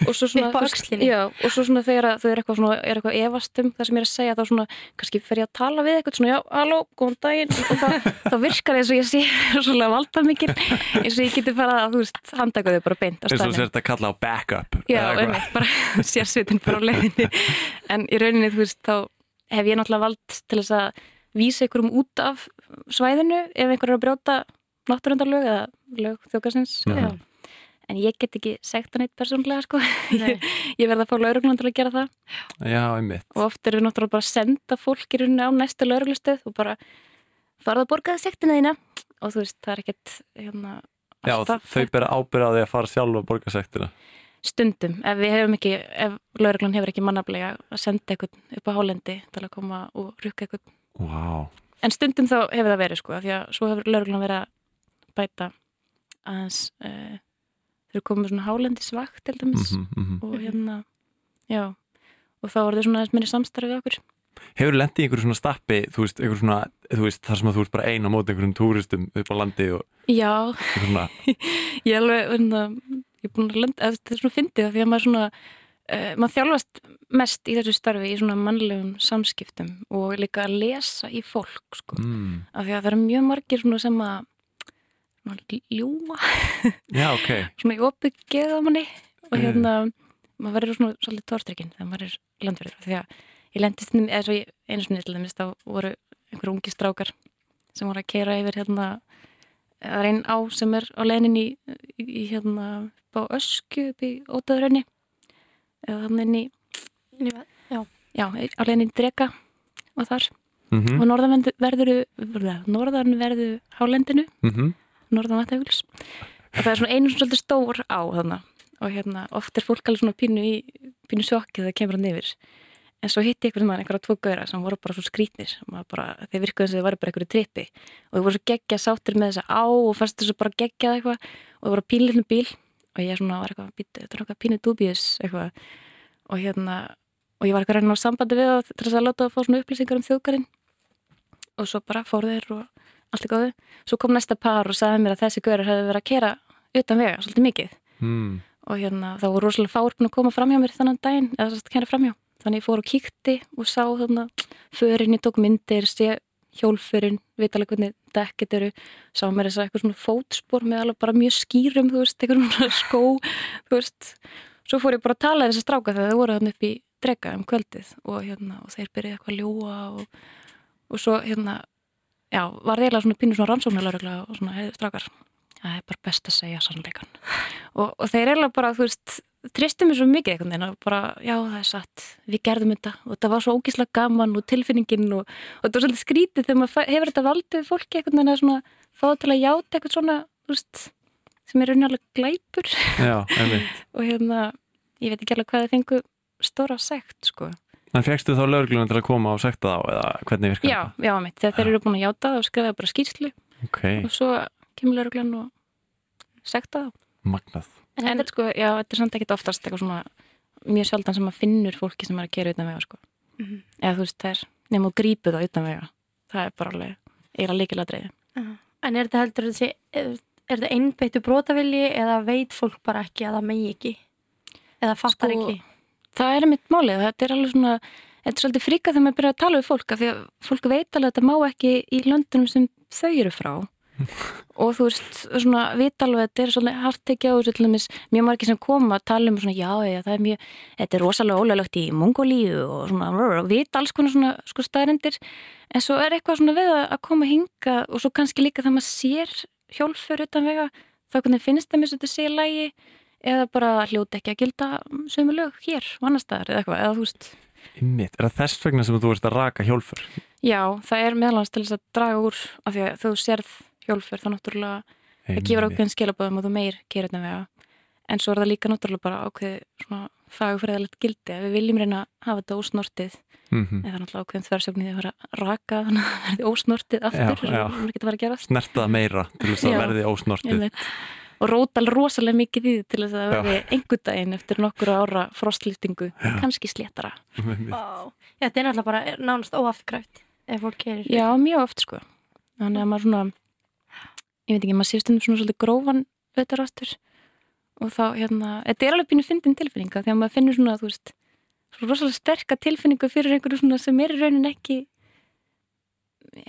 S5: og svo svona,
S1: Upp á
S5: þú veist,
S1: öxlinni.
S5: já, og svo svona þegar að þau eru eitthvað, svona, er eitthvað efast um það sem ég er að segja þá svona kannski fer ég að tala við eitthvað svona já, halló, góðan daginn og það, þá virkar eins og ég sé svona valda mikil eins og ég geti farað að þú veist handaka þau bara beint á
S2: eins og
S5: staðnum
S2: sér þetta kalla á backup
S5: já,
S2: eða eitthvað.
S5: einmitt, bara sérsvitin bara á leiðinni en í rauninni þú veist þá hef ég náttúrulega vald til þess að vísa ykkurum út af svæðinu ef einhver er að brjóta náttúrundarlög eða lög þjókasins
S2: Mhm.
S1: Já.
S5: en ég get ekki sagt hann eitt persónlega sko.
S1: Nei.
S5: ég verð að fá lauruglan til að gera það
S2: Já, einmitt
S5: og oft erum við náttúrulega bara að senda fólk í rauninni á næsta lauruglustöð og bara farað að borga það sektina þína og þú veist, það er ekkert hérna,
S2: Já,
S5: alltaf
S2: þau bera ábyrða því að fara sjálf og borga sektina
S5: stundum ef við hefum ekki, ef lauruglan hefur ekki mannaflega að senda eitthvað upp á hálendi til að koma og rukka eitthvað
S2: Vá, wow.
S5: en stundum þá hefur það verið sko af því að svo hefur lauruglan verið að bæta aðeins uh, þau eru komið svona hálendisvakt til dæmis
S2: Mhm.
S5: og hérna, já og þá voru þau svona aðeins minni samstarfi við okkur
S2: Hefur lendið í einhverju svona stappi, þú veist, einhverju svona þú veist, þar sem að þú ert bara ein á móti einhverjum túristum upp á landi og
S5: Já,
S2: einhverju svona
S5: ég alveg hérna, ég er búin að lenda, eða þetta er svona fyndið af því að maður svona uh, maður þjálfast mest í þessu starfi í svona mannlegum samskiptum og líka að lesa í fólk sko.
S2: Mm.
S5: af því að það eru mjög margir svona sem að svona ljúma
S2: Já, ok.
S5: svona í opið geða manni og
S2: Mm.
S5: hérna, maður verður svona svolítið tortrykkin þegar maður er landverður því að ég lendist, eða svo ég einu sinni til þess, þá voru einhver ungi strákar sem voru að keira yfir hérna það er einn á sem er á leinin í, í hérna á ösku upp í ótaðurönni eða þannig inn í, já, á leinin í drega og þar,
S2: Mm
S5: og norðan verður norðan verður hálendinu
S2: -hmm.
S5: norðan Vatnajökuls og það er svona einu svona svolítið stór á þarna og hérna oft er fólk alveg svona pínu í pínu sjokkið þegar það kemur hann yfir en svo hitti einhvern mann einhverja tvo gauðra sem voru bara svo skrítnir sem maður bara, þeir virkuðu eins og þeir varu bara einhverju trippi og þeir voru svo geggja sáttir með þessa á og fannst þessu bara geggjað eitthvað og þeir voru pínlinn bíl og ég svona var eitthvað "Bíddu, þetta er eitthvað pínu dubius eitthvað og hérna og ég var eitthvað að reyna á sambandi við og til þess að láta að fá svona upplýsingar um þjóðgarinn og svo bara fór þeir og allt í góðu svo kom næsta par og sagði mér að þessi görur hefði verið að kera utan vega svolítið mikið
S2: Mm.
S5: og hérna þá voru rosalega fáir búin að koma fram hjá mér þannan daginn eða þess að kæra fram hjá þannig ég fór og kíkti og sá þarna förin, ég tók myndir, sé hjólförin, veit alveg hvernig dekket eru sá mér þess að eitthvað svona fótspor með alveg bara mjög skýrum, þú veist, eitthvað svona skó, þú veist svo fór ég bara að tala þess að stráka þegar þau voru þannig upp í drega um kvöldið og hérna og þeir byrjuði eitthvað að ljúa og, og svo hérna já, var eiginlega svona pínu svona rannsóknarlaurugla og svona heiðu strákar það er bara best að segja sannleikan og, og þeir eiginlega bara, þú veist tristum mér svo mikið einhvern veginn og bara, já það er satt, við gerðum þetta og það var svo ógíslega gaman og tilfinningin og, og þetta var svolítið skrítið þegar maður fæ- hefur þetta valdið fólki einhvern veginn að svona fá það til að játa eitthvað svona, þú veist sem er raunalega glæpur
S2: Já, einmitt.
S5: og hérna, ég veit ekki alveg hvað þið fengu stóra sekt, sko
S2: En fegstu þá lögreglunum til að koma og sekta þá eða hvernig virkar
S5: Já, já, mitt, þegar þeir eru búin að játa það og skrifa bara skýrslu
S2: það? Ok,
S5: og svo kemur lauruglan og sekta það.
S2: magnað.
S1: En
S5: En
S1: þetta er,
S5: sko, já, þetta er samt ekkit oftast eitthvað svona mjög sjaldan sem maður finnur fólki sem er að kera utan vega, sko.
S1: Mhm.
S5: Eða þú veist, það er nema og grípu það utan vega. Það er bara alveg, eiginlega líkiladreiði.
S1: en er þetta heldur þessi, er, er þetta einbeittu brotavilji eða veit fólk bara ekki að það megi ekki? Eða fattar
S5: Sko,
S1: ekki?
S5: Það er mitt málið, þetta er alveg svona, þetta er svolítið fríka þegar maður byrjar að tala við fólk af því að fólk veit alveg að þetta má ekki í löndunum sem þau eru frá og þú veist, svona, veit alveg að þetta er svolítið hartekja og svolítið mis, mjög margir sem koma að tala um svona, já, já, það er mjög, þetta er rosalega ólöglegt í Mongolíu og svona, rr, og veit alls konar svona, sko, staðrendir en svo er eitthvað svona við að að koma hinga og svo kannski líka þegar maður sér hjólfur utan vega, þá hvernig finnst það mér svo þetta sé í lagi eða bara hljóti ekki að gilda sömu lög hér og annar staðar eða eitthvað, eða þú veist
S2: Einmitt. Er það þess vegna sem þú ert að raka hjólfur?
S5: já, það er meðalans til þess að draga úr af því að þú sérð hjólfur þá náttúrulega það
S2: Mm,
S5: gefur ákveðin skilabóðum og þú meir gerir þetta vega en svo er það líka náttúrulega bara ákveð svona fagfræðilegt gildi að við viljum reyna að hafa þetta ósnortið
S2: Mm -hmm.
S5: en það er náttúrulega ákveðin þversjóknir að fara að raka þannig að það verði ósnortið aftur
S2: Já,
S5: já,
S2: já.
S5: það getur bara að gerast
S2: Snertað meira til þess að
S5: Já.
S2: verði ósnortið.
S5: Einmitt. og rótal rosalega mikið í því til þess að
S2: Já.
S5: það verði einhver daginn eftir nokkura ára frostlýtingu, kannski sléttara
S2: Einmitt.
S1: Vá. Já, þetta er náttúrulega bara nánast óafgræft ef fólk kerir.
S5: Já, mjög oft sko Þannig að maður svona ég veit ekki, maður séu stundum svona svolítið grófan vetarastur og þá hérna, þetta er alveg pínu fyndin tilfinninga þegar maður finnur svona, þú veist svona rosalega sterka tilfinningu fyrir einhverju svona sem er í raunin ekki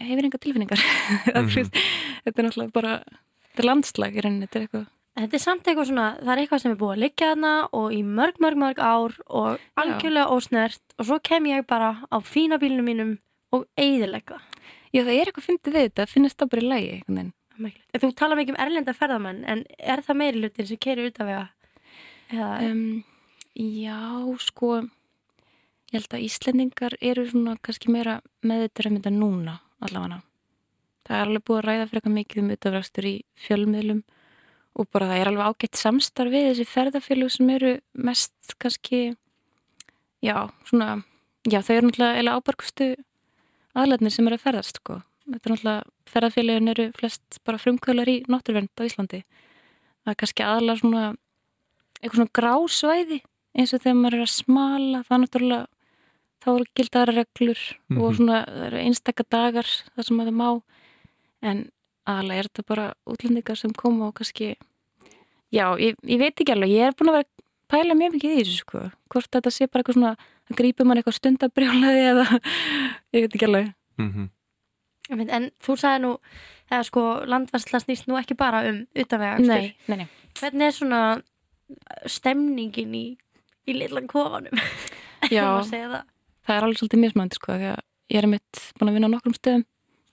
S5: hefur enga tilfinningar mm
S2: Mhm.
S5: þetta er náttúrulega bara þetta er landslag í raunin, þetta er eitthvað
S1: En Þetta er samt eitthvað svona, það er eitthvað sem er búið að liggja þarna og í mörg, mörg, mörg ár og algjörlega ósnert og svo kem ég bara á fína bílunum mínum og eiðilegða.
S5: Já, það er eitthvað fyndið við þetta, finnist það bara í lægi einhvern veginn
S1: Þú tala mikið um erlenda ferðamenn en er það meiri hlutin sem kerir út af vega? Eða,
S5: um, Já, sko ég held að Íslendingar eru svona kannski meira meðvitað um þetta núna allavega það er alveg búið að ræða frekar mikið um utafrækstur í fjölmiðlum og bara það er alveg ágætt samstarf við þessi ferðafélug sem eru mest kannski já, svona já, þau eru náttúrulega eiginlega ábarkustu aðlarnir sem eru að ferðast sko. þetta er náttúrulega ferðafélugin eru flest bara frumkvölar í náttúruvernd á Íslandi það er kannski aðalega svona eitthvað svona grásvæði eins og þegar maður er að smala það er náttúrulega þá er gildara reglur og
S2: Mhm.
S5: svona það eru einstaka dagar þar sem maður má en aðalega er þetta bara útlendingar sem koma og kannski já, ég, ég veit ekki alveg, ég er búin að vera pæla mjög mikið í þessu sko hvort þetta sé bara eitthvað svona að grípa mann eitthvað stundabrjólaði eða ég veit ekki alveg
S2: mm -hmm.
S1: Ég mynd, En þú sagði nú, eða sko, landvarsla snýst nú ekki bara um utanvega
S5: nei, nei.
S1: Hvernig er svona stemningin í, í lilla kofanum?
S5: Já,
S1: Má segja það?
S5: það er alveg svolítið mismöndi sko því að ég er mitt búin að vinna á nokkrum stöðum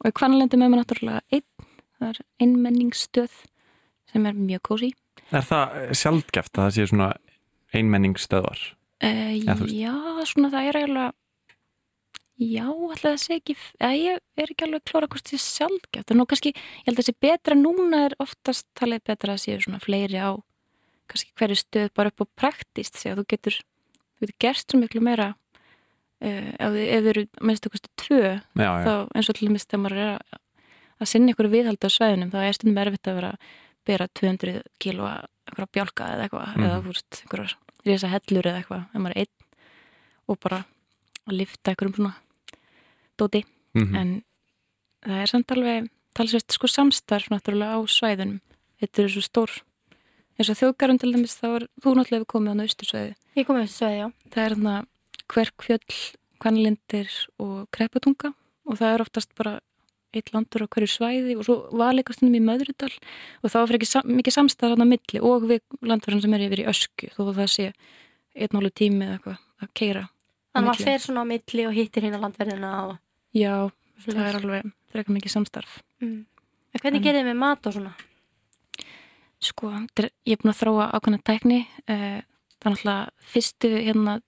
S5: og í kvannlendi með mér náttúrulega einn það er einmenningsstöð sem er mjög kósi
S2: Er það sjaldgæft að það sé svona einmenningsstöðvar?
S5: uh,
S2: Já, þú veist.
S5: Já, svona það er eiginlega Já, alltaf það sé ekki eða ég er ekki alveg klóra hvort því sjálfgjátt en nú kannski, ég held að þessi betra núna er oftast talið betra að séu svona fleiri á kannski hverju stöð bara upp á praktist því að þú getur, þú getur gerst svo miklu meira uh, ef þið ef þið eru minnst okkur stu tvö
S2: Já, já,
S5: þá eins og til dæmis þegar maður er að, að sinna ykkur viðhaldi á svæðunum þá er stundum erfitt að vera að bera 200 kílóa einhverja bjálka eða eitthvað
S2: Mhm.
S5: eða fúrst einhverjar risa hellur eða eitthvað ef maður er einn og bara að lifta einhverjum svona dóti
S2: mm -hmm.
S5: en það er samt alveg talsvert sko samstarf náttúrulega á svæðunum þetta eru svo stór eins og þjóðgarun til dæmis þá er þú náttúrulega hefur komið á naustursvæði
S1: Ég kom með þessu sveið, já.
S5: það er þarna kverkfjöll, kvannlindir og krepatunga og það er oftast bara eitt landur á hverju svæði og svo valikastunum í Möðrudal og það var fyrir ekki sam mikið samstæðar á milli og við landverðin sem er yfir í ösku þó að það sé einn og hálfu tími eða eitthvað að keira.
S1: Þannig að maður
S5: Milli.
S1: fer svona á milli og hittir hinn á landverðina og
S5: Já,
S1: svona.
S5: það er alveg frekar mikið samstarf.
S1: Mm. En hvernig gerðið þið með mat og svona?
S5: Sko, þetta er- ég er búin að þróa ákveðna tækni. eh, Það er náttúrulega fyrstu hérna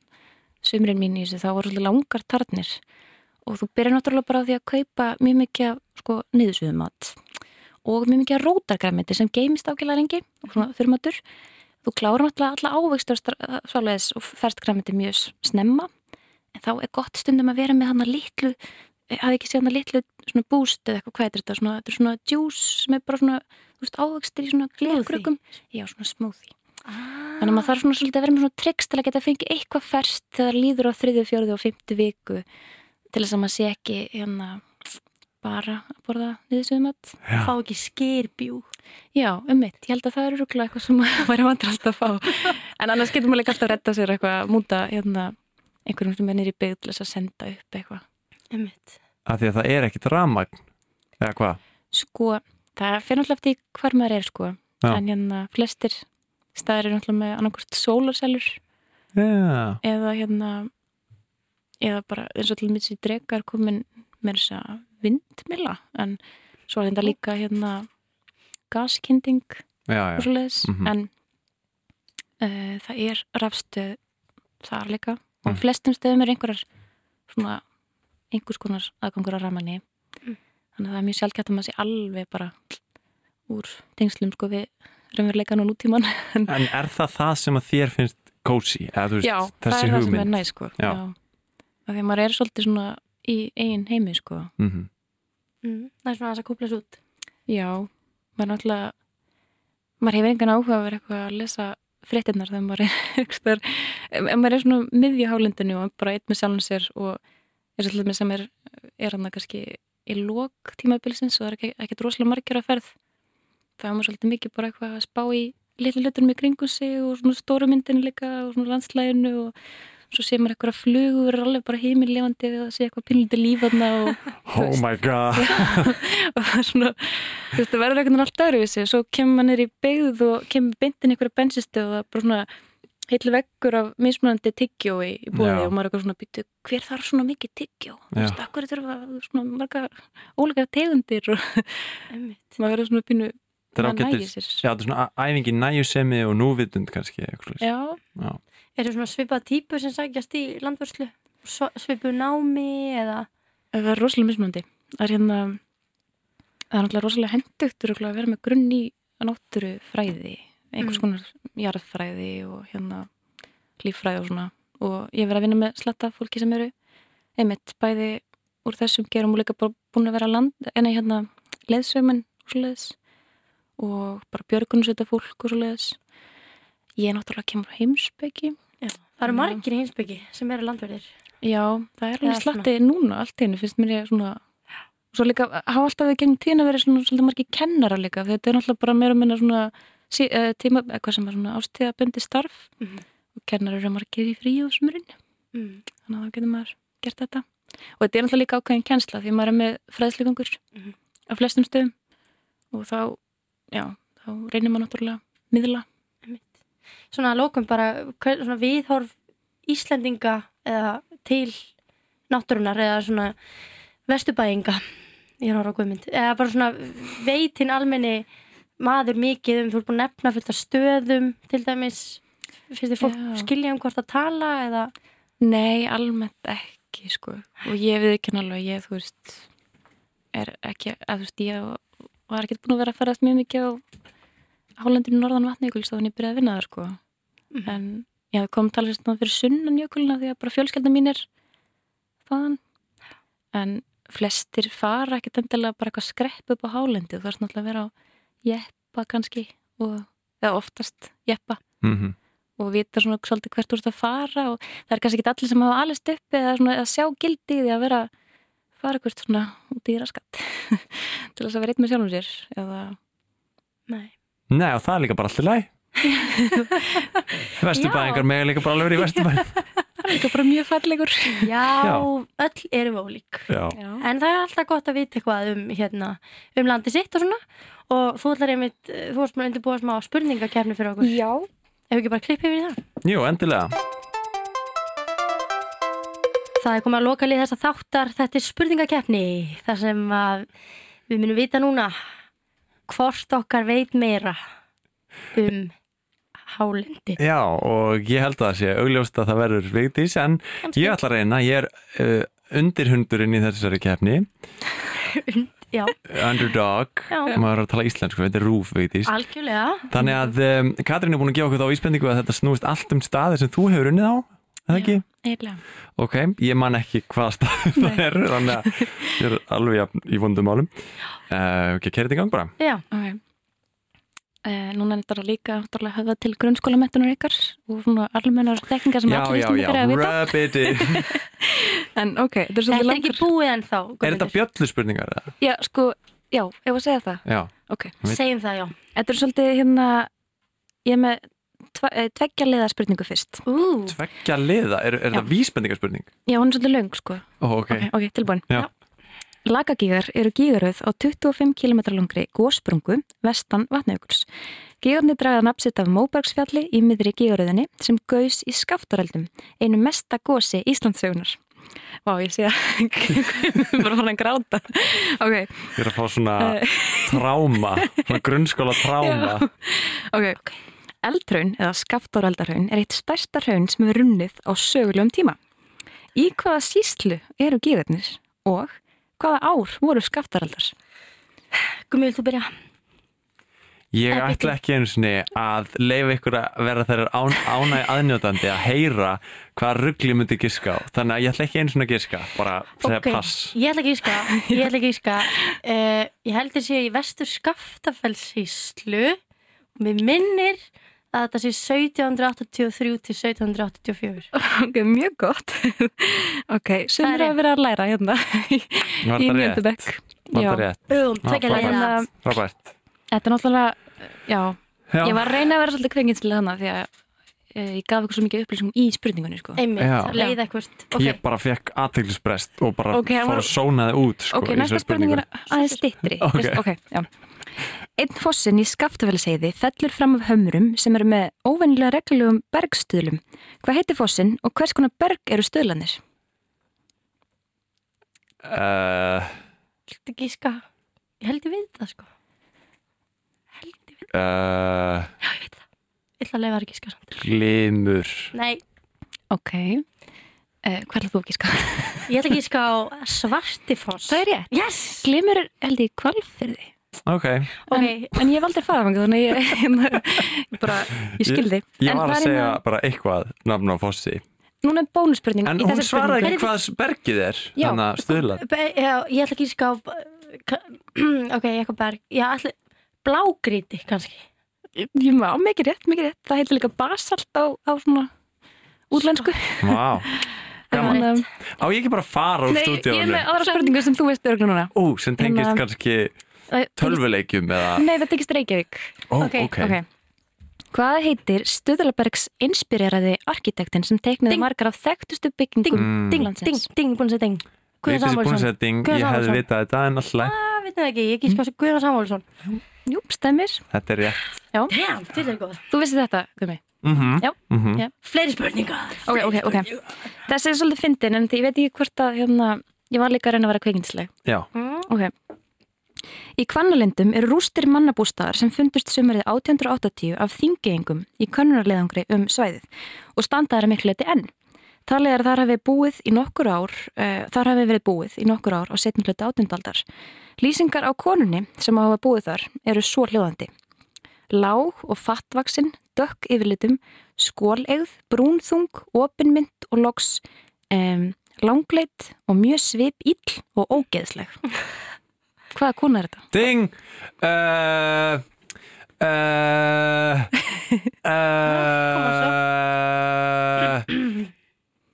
S5: sömurinn mín í þessu, það voru svolítið langar tarnir og þú byrjar náttúrulega bara á því að kaupa mjög mikið af, sko niðursuðumat og mjög mikið rótargræmiti sem geymist ákveðlega lengi og svona þurrmatur. Þú klárar náttúrulega alla ávegstur svolítið og ferst græmiti mjög s- snemma en þá er gott stundum að vera með hann að litlu hafði ekki séð hann að litlu svona búst eða eitthvað hvað er þetta, svona, þetta er svona juice sem er bara svona, þú veist, ávegstir í svona glerkrukkum Já, svona smoothie. Þannig að maður þarf svona svolítið að vera með svona tricks til að geta fengið eitthvað ferskt þegar líður á þriðju, fjörðu og fymtu viku til þess að maður sé ekki hérna bara að borða niðursuðumat.
S2: já.
S1: Fá ekki skyrbjú.
S5: Já, um mitt. Ég held að það eru rúglega eitthvað sem maður væri vandrast að fá. En annars getur maður líka alltaf að redda sér eitthvað, múta hérna einhverjum sem er nýri byggð til þess að senda upp eitthvað.
S1: Einmitt.
S2: Af því að það er ekkit ramagn Eða hvað?
S5: Sko, það fyrir náttúrulega eftir því hvar maður er sko.
S2: Já.
S5: En hérna flestir staðir eru náttúrulega með annarkvort sólarselur
S2: Já,
S5: eða hérna eða bara eins og til mitt sér drekar komin með þess að vindmila en svo er þetta líka hérna gaskinding
S2: já, já
S5: og svoleiðis
S2: Mhm.
S5: en uh, það er rafstöð þar líka og
S2: Mm.
S5: á flestum stöðum er einhverjar svona einhvers konar aðgangur að rafmanni þannig að það er mjög sjálfgætt að maður sé alveg bara úr tengslum sko við raunveruleikan og nútíman en
S2: En er það það sem að þér finnst kósi? Eða þú veist,
S5: Já, það
S2: þessi
S5: er það sem er
S2: hugmynd?
S5: næ sko.
S2: Já.
S5: Já. Af því að maður er svolítið svona í eigin heimi sko.
S2: Mm -hmm.
S1: Mm. Það er svona aðeins að kúpla svo út.
S5: Já, maður er náttúrulega maður hefur engan áhuga að vera eitthvað að lesa fréttinnar þegar maður er einhvers staðar- ef ef maður er svona miðjuhálendinu og bara einn með sjálfum sér og er svolítið með sem er, er hann kannski í lok tímabilsins og það er ekki, ekkert rosalega margir að ferð það er maður svolítið mikið bara eitthvað að spá í litlu hlutunum í kringu sig og svona stóru myndinu líka og svona landslæginu og svo sé maður eitthvað að flugu verður alveg bara heimilefandi og sé eitthvað pinnlítið lífanna og
S2: Oh my god
S5: og það er svona þú veist, það verður einhvern veginn allt öðruvísi og svo kemur maður niður í beigð og kemur beintin einhverja bensistu og það er bara svona heill veggur af mismunandi tyggjói í búði
S2: Já.
S5: og maður er eitthvað svona býtu hver þarf svona mikið tyggjó? Þú veist, akkur þurfa svona marga ólega tegundir og
S1: Einmitt.
S5: maður verður svona býnu
S2: Það er
S5: maður nægir
S2: ágættis
S5: sér
S2: Já, það er svona æ- æfingin nægjusemi og núvitund kannski eitthvað svoleiðis.
S5: Já,
S2: Já.
S1: Eru svona svipað típur sem sækjast í landvörslu? Svo- Svipuð námi eða...
S5: Eh, það er rosalega mismunandi það er hérna það er náttúrulega rosalega hendugt örugglega að vera með grunn í náttúru fræði einhvers
S1: Mm.
S5: konar jarðfræði og hérna líffræði og svona og ég hef verið að vinna með slatta af fólki sem eru einmitt bæði úr þessum gerum og líka bara búin að vera land en hérna leðsveimenn og svoleiðis og bara björgunsveita fólk og svoleiðis ég er náttúrulega kemur frá heimspeki
S1: Það eru
S5: Já.
S1: margir í hinsbyggi sem eru landverðir.
S5: Já, það er
S1: Eða
S5: alveg slatti núna allt í einu, finnst mér ég svona svo líka, hafa alltaf við gegnum tíðina verið svona svolítið margir kennara eh, líka, þetta er náttúrulega bara meira og minna svona sí, uh, tíma, eitthvað sem er svona ástíðabundi starf
S1: Mhm.
S5: og kennar eru margir í frí á sumurinn
S1: Mm.
S5: þannig að þá getur maður gert þetta og þetta er náttúrulega líka ákveðin kennsla því maður er með fræðslugungur
S1: Mhm.
S5: á flestum stöðum og þá, já, þá reynir maður náttúrulega miðla
S1: Svona að lókum bara, hver, svona viðhorf Íslendinga eða til náttúrunar eða svona vesturbæinga ég er ára á guðmynd, eða bara svona veitinn almenni maður mikið um, þú ert búin að nefna fullt af stöðum til dæmis, finnst þið fólk
S5: Já.
S1: skilja um hvort að tala eða
S5: Nei, almennt ekki, sko. Og ég við ekki alveg, ég, þú veist, er ekki, að þú veist, ég var ekki búin að vera að ferðast mjög mikið á hálendinu norðan vatni ykkur, þannig ég byrjaði að vinna þar, sko.
S1: Mhm.
S5: En ég kom talveg svona fyrir sunnan jökulina því að bara fjölskelda mín er þaðan. En flestir fara ekkit endilega bara eitthvað skrepp upp á hálendi. Þú þarfst náttúrulega að vera á jeppa kannski og, eða oftast jeppa
S2: mm -hmm.
S5: og vita svona svolítið hvert úr þetta að fara og það er kannski ekki allir sem hafa alist upp eða svona að sjá gildi í því að vera fara hvert svona út í raskat til þess að vera eitt með sjálfum sér eða
S1: Nei.
S2: Nei, og það er líka bara allt í læg Vesturbæðingar með líka bara alveg í Vesturbæðingar
S5: það er líka bara mjög fallegur
S1: Já,
S2: Já.
S1: öll erum við ólík
S2: Já,
S5: Já,
S1: en það er alltaf gott að vita eitthvað um hérna, um landi sitt og svona og þú ætlar einmitt, eh, þú varst með að undirbúa smá spurningakefni fyrir okkur,
S5: Já.
S1: ef ekki bara klippið við það
S2: jú, endilega
S1: Það er komið að loka lið þessa þáttar þetta er spurningakefni, þar sem að við munum vita núna hvort okkar veit meira um hálendi
S2: Já, og ég held að það sé augljóst að það verður vigtís en ég ætla að reyna, ég er uh, undirhundurinn í þessari kefni
S1: Já,
S2: Underdog,
S1: Já. Ah.
S2: maður er að tala íslensku þetta er rúf vigtís
S1: algjörlega
S2: Þannig að um, Katrín er búin að gefa okkur þá íspendingu að þetta snúist allt um staði sem þú hefur unnið á er Það ekki?
S5: eiginlega
S2: Ok, ég man ekki hvað staði það er þannig að ég er alveg jafn í vondum málum uh, Ok, kerið í gang bara
S1: Já,
S5: okay. eh, Núna er þetta líka náttúrulega höfða til grunnskólamettunar ykkar og svona almennar þekkingar sem
S2: Já,
S5: allir
S2: já, já,
S5: íslendingar er að vita
S2: rub it in
S5: En ok, þetta er svolítið
S1: þetta er ekki
S5: langur
S1: búið ennþá
S2: Er þetta
S1: Guðmundur.
S2: bjöllu spurningar?
S5: Já, sko, já, ef að segja það
S2: Já,
S5: Ok
S2: björn-
S1: Segjum það, já
S5: Þetta er svolítið hérna, ég er með tve, eh, tveggja liða spurningu fyrst.
S1: Ú,
S2: tveggja liða, er, er
S5: Já.
S2: það vísbendingarspurning?
S5: Já, hún er svolítið löng sko.
S2: Ó, ok,
S5: Ok, ok, tilbúin.
S2: Já.
S5: Lagagígar eru gígaröð á 25 km langri gósprungu vestan vatnaukuls. Gígarni draga nafn sitt af Móbergsfjalli í miðri gígaröðinni sem gaus í skaftaröldum, einu mesta gósi Íslandsögunar. Vá, ég sé að bara fór að gráta. Ok,
S2: ég er að fá svona tráma, svona grunnskóla tráma
S5: ok. Eldhraun eða skaftoraldarhraun er eitt stærsta hraun sem er runnið á sögulegum tíma. Í hvaða síslu eru gíðarnir og hvaða ár voru skaftoraldar?
S1: Gumi, vil þú byrja?
S2: Ég
S1: Eh,
S2: ætla
S1: bíddu.
S2: ekki einu sinni að leifa ykkur að vera þeirra án, ánæg aðnjótandi að heyra hvað ruggli myndi giska á þannig að ég ætla ekki einu sinni að giska bara segja
S1: Ok,
S2: pass
S1: Ég ætla ekki að íska, ég ætla ekki að íska. Uh, ég heldur sé í vestur Skaftafellsíslu og mér minnir að þetta sé 1783 til 1784.
S5: Ok, mjög gott. ok, sem
S1: Það er
S5: eru að vera að læra hérna í
S2: Var það
S5: nýjöndu
S2: rétt?
S5: bekk.
S2: Var það
S5: Já.
S2: rétt?
S1: Búm,
S2: Ah,
S1: tvekja
S2: frábært.
S1: leiða.
S5: Hérna,
S2: Robert
S5: Þetta er náttúrulega, já,
S2: Já,
S5: ég var að reyna að vera svolítið kvenginsilega þannig því að e, ég gaf ykkur svo mikið upplýsingum í spurningunni, sko.
S2: Já.
S1: Einmitt, leiða eitthvað.
S2: ég
S1: Ok,
S2: bara fekk aðteglisbrest og bara
S5: Ok, hann
S2: fór
S5: var-
S2: að sóna þið út sko,
S5: Ok,
S2: í
S5: næsta
S2: þessari
S5: spurning er
S2: spurningu.
S5: aðeins stittri.
S2: Ok.
S5: já. Einn fossin í skaftafélagseiði fellur fram af hömrum sem eru með óvennilega reglulegum bergstuðlum. Hvað heitir fossin og hvers konar berg eru stuðlanir?
S2: uh,
S1: viltu ekki íska? Ég held ég við það sko. Held ég við
S2: uh,
S1: Já, ég veit það. Ég ætla að leiða að ekki íska samt.
S2: Glimur
S1: Nei,
S5: Ok. Uh, hvað er þú ekki sko?
S1: ég ætla ekki að íska á Svartifoss.
S5: Það er ég.
S1: Yes!
S5: Glimur er held ég kvalfyrði.
S2: Ok,
S1: Ok,
S5: En, en ég hef aldrei farað fangað þannig að ég, hérna, ég bara, ég skildi.
S2: ég
S5: En
S2: var að
S5: það er
S2: segja
S5: hérna-
S2: bara eitthvað nafn á fossi
S5: Núna er bónusspurning
S2: En
S5: í
S2: hún
S5: þessu
S2: svaraði
S5: spurningu.
S2: ekki hvað bergið er
S5: Já.
S2: Þannig að stuðla
S1: Be- Já, ég ætla ekki að ská ok, eitthvað berg já, ætla, blágríti kannski
S5: Ég má, mikið rétt, mikið rétt. Það heitir líka basalt á, á svona útlensku. um,
S2: Vá, gaman
S5: Þannig að-
S2: Á ég ekki bara að fara úr
S5: Nei, ég er
S2: stúdíónu?
S5: með aðra spurningu sem þú veist örglun núna.
S2: Ú, sem tengist
S5: Hérna-
S2: kannski
S1: Æ,
S2: tölvuleikjum eða
S5: Nei, þetta er ekki Reykjavík.
S2: Ó,
S1: ok,
S2: ok,
S5: Ok. Hvað heitir Stöðlabergs inspireraði arkitektinn sem teiknaði
S1: Ding.
S5: margar af þekktustu byggingum
S1: Ding,
S2: Mm.
S1: ding,
S5: landsins?
S1: ding, búin að segja ding
S2: Við
S1: Guðjón
S2: þessi búin að
S1: Samúelsson
S2: segja ding,
S1: Guðjón
S2: ég hefði
S1: Samúelsson.
S2: vitað þetta en alltaf
S5: Ah.
S1: Það veit það ekki, ég gíska á sig Guðjón Samúlsson
S5: Jú, stemmir.
S2: Þetta er rétt
S1: Damn, til er góð
S5: Þú vissið þetta, Gumi.
S2: mm -hmm.
S5: Já.
S1: Fleiri spurningar
S5: Ok, ok, ok. Þessi er svolítið fyndin en því ég veit ekki hvort að hérna, ég var líka að reyna að vera kveikindisleg.
S2: Já,
S5: Ok. Í Hvannalindum eru rústir mannabústaðar sem fundust sumarið 1880 af þingeyingum í könnunarleðangri um svæðið og standaðar er miklu leti enn. Talið er að þar hafi búið í nokkur ár, uh, þar hafi verið búið í nokkur ár á setnum hluti átundaldar. Lýsingar á konunni sem hafa búið þar eru svo hljóðandi. Lág og fattvaksinn, dökk yfirlitum, skóleigð, brúnþung, opinmynd og loks um, langleitt og mjög svip ill og ógeðsleg. Hvaða kona er þetta?
S2: ding uh, uh, uh,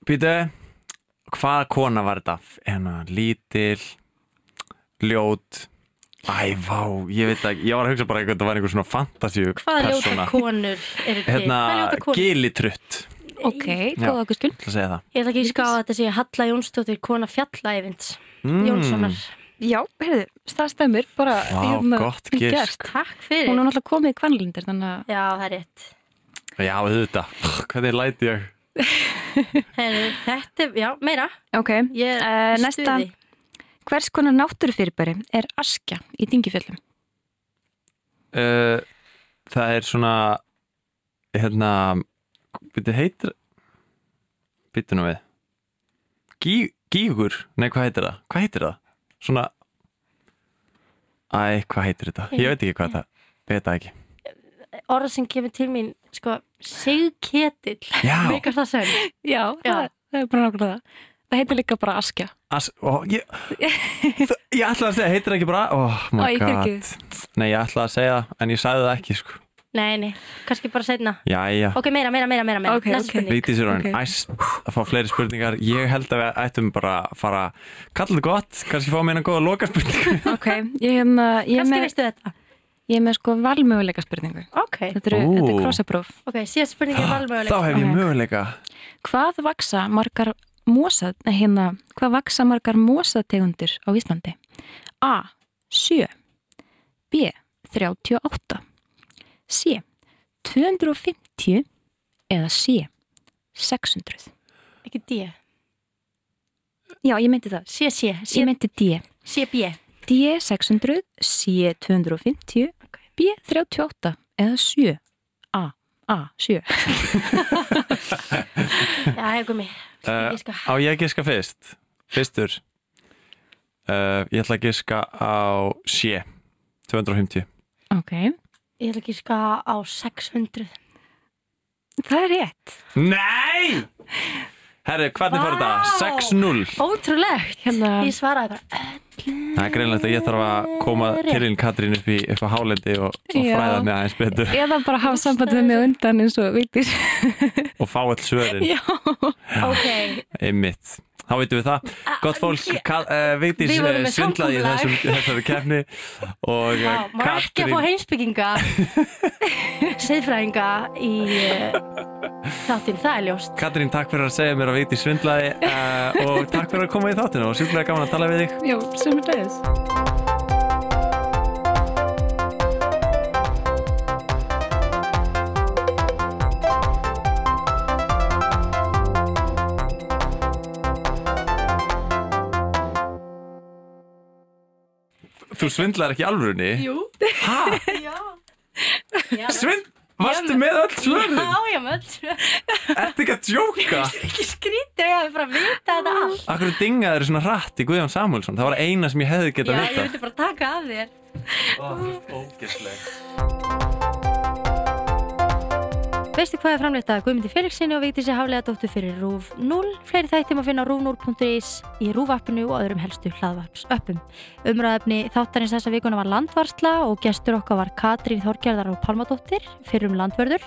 S2: Býtu Hvaða kona var þetta? Hérna, lítil Ljót Æ, vá, ég veit ekki, ég var að hugsa bara eitthvað þetta var einhver svona fantasíu
S1: Hvaða ljóta konur eru til? Hvaða
S2: Hérna,
S1: ljóta konur?
S2: gilitrutt
S5: Ok,
S2: Já.
S5: góða okkur skil.
S2: Það segja það
S1: Ég ætla ekki að ská að þetta sé Halla Jónsdóttir kona fjallæfinds
S2: Mm.
S1: Jónssonar
S5: Já, heyrðu, það stemmir bara um
S2: Vá, gott
S5: vel
S2: gisk.
S5: gert.
S1: Takk
S5: Hún er
S1: fyrir
S5: náttúrulega komið í kvannlindir, þannig að
S1: Já, það er rétt
S2: Já, auðvitað, hvernig læti ég
S1: Heru, Þetta, er- já, meira
S5: Ok,
S1: Ég
S5: Eh,
S1: er í
S5: næsta.
S1: stuði.
S5: hvers konar náttúrufyrirbæri er askja í dingifjöllum?
S2: uh, Það er svona hérna byrju heitir byrju nú við Gí, Gígur, nei hvað heitir það? Hvað heitir það? Svona Æ, hvað heitir þetta? Ég veit ekki hvað það Veit það ekki
S1: Orð sem kemur til mín, sko Sigketill
S2: Já.
S1: Mikar það sem
S5: Já,
S1: Já.
S5: Það, það er bara nákvæmlega það. Það heitir líka bara askja.
S2: As, ó, ég, það, ég ætlaði að segja, heitir það ekki bara Oh my
S5: Ó, ég
S2: god
S5: fyrirgef.
S2: Nei, ég ætlaði að segja það, en ég sagði það ekki sko.
S1: Nei, nei, kannski bara setna
S2: Jæja
S1: Ok, meira, meira, meira, meira, meira.
S5: Ok,
S1: Næsta
S5: ok.
S1: spurning
S2: Lítið sér orðin
S5: Ok.
S2: æst að fá fleiri spurningar Ég held að við ættum bara að fara Kalla þetta gott, kannski fá mér eina góða loka spurningu
S5: Ok, ég, hérna, ég, er
S1: Kannski
S5: með,
S1: veistu þetta
S5: ég er með sko valmöguleika spurningu.
S1: Ok,
S5: Þetta eru- þetta
S2: Ú.
S5: er krossapróf.
S1: ok, síðast spurning er
S2: Ah, Þá
S1: valmöguleg
S2: hef ég
S5: Ok.
S2: möguleika
S5: Hvað vaksa margar mosa, nei, hérna, hvað vaksa margar mosategundir á Íslandi? A. 7 B. 38 C. 250 eða C. 600
S1: Ekki D,
S5: Já, ég meinti það.
S1: sé, sé,
S5: Ég meinti D.
S1: sé, B
S5: D. 600 C. 250 B. 38 eða 7 A. A. 7
S1: Já, ég komi
S2: uh, Á ég að giska fyrst Fyrstur uh, Ég ætla að giska á sé 250
S5: Ok.
S1: Ég ætla ekki ska á 600
S5: Það er rétt.
S2: Nei! Herri, hvernig fór þetta?
S1: Vá!
S2: 6-0
S1: Ótrúlegt,
S5: Hérna-
S1: ég svaraði bara
S2: Það er greinlegt að ég þarf að koma til hinn Katrín upp, í, upp á hálendi og, og
S5: Já.
S2: fræða mig aðeins betur
S5: Eða bara hafa samband við mig á undan eins og viltir.
S2: og fá allt svörin
S5: Já.
S1: Ok,
S2: Einmitt. Þá veitum við það. Gott fólk, uh, Vigdís
S1: Við vorum
S2: eh,
S1: með
S2: svindlaði í þessum,
S1: samkomulag.
S2: þessari kefni og eh,
S1: já, maður er ekki að fá
S2: Katrín,
S1: heimsbygginga Seyðfræðinga í uh, þáttinn, það er ljóst
S2: Katrín, takk fyrir að segja mér að Vigdís svindlaði uh, og takk fyrir að koma í þáttina og sjúklega gaman að tala við þig.
S5: Já, sem er dæðis.
S2: Þú svindlaði ekki í alvörunni? Jú. Hæ?
S1: Já.
S2: Svind... Varstu með öll svörin?
S1: Já, já, maður
S2: Ertu ekki að djóka?
S1: Ekki skrítið, ég hef bara að vita þetta allt
S2: Akkur dingaður svona rætt í Guðjón Samuelsson? Það var eina sem ég hefði
S1: Já,
S2: getað
S1: ég
S2: vitað.
S1: vildi bara taka af þér
S2: Ógæslega.
S1: Veistu hvað er framleitt að Guðmundi Felixinni og Vigdísi Haflega dóttu fyrir RÚV 0? Fleiri þættum að finna á rúv0.is í RÚV-appinu og öðrum helstu hlaðvarpsöppum. Umræðefni þáttarins þessa vikuna var landvarsla og gestur okkar var Katrín Þorgerðar og Palmadóttir fyrir um landvörður.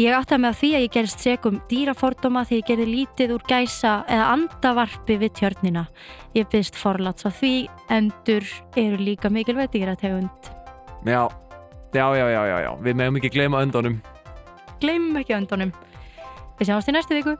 S1: Ég átti að með því að ég gerist segum dýrafordóma því ég gerði lítið úr gæsa eða andavarpi við tjörnina. Ég byrst forlats á því, endur eru líka mikilvægt að tegund.
S2: Já, já, já, já, já, já, við meðum ekki gleyma öndunum
S1: gleymum ekki öndunum. Við sjáumst í næstu viku.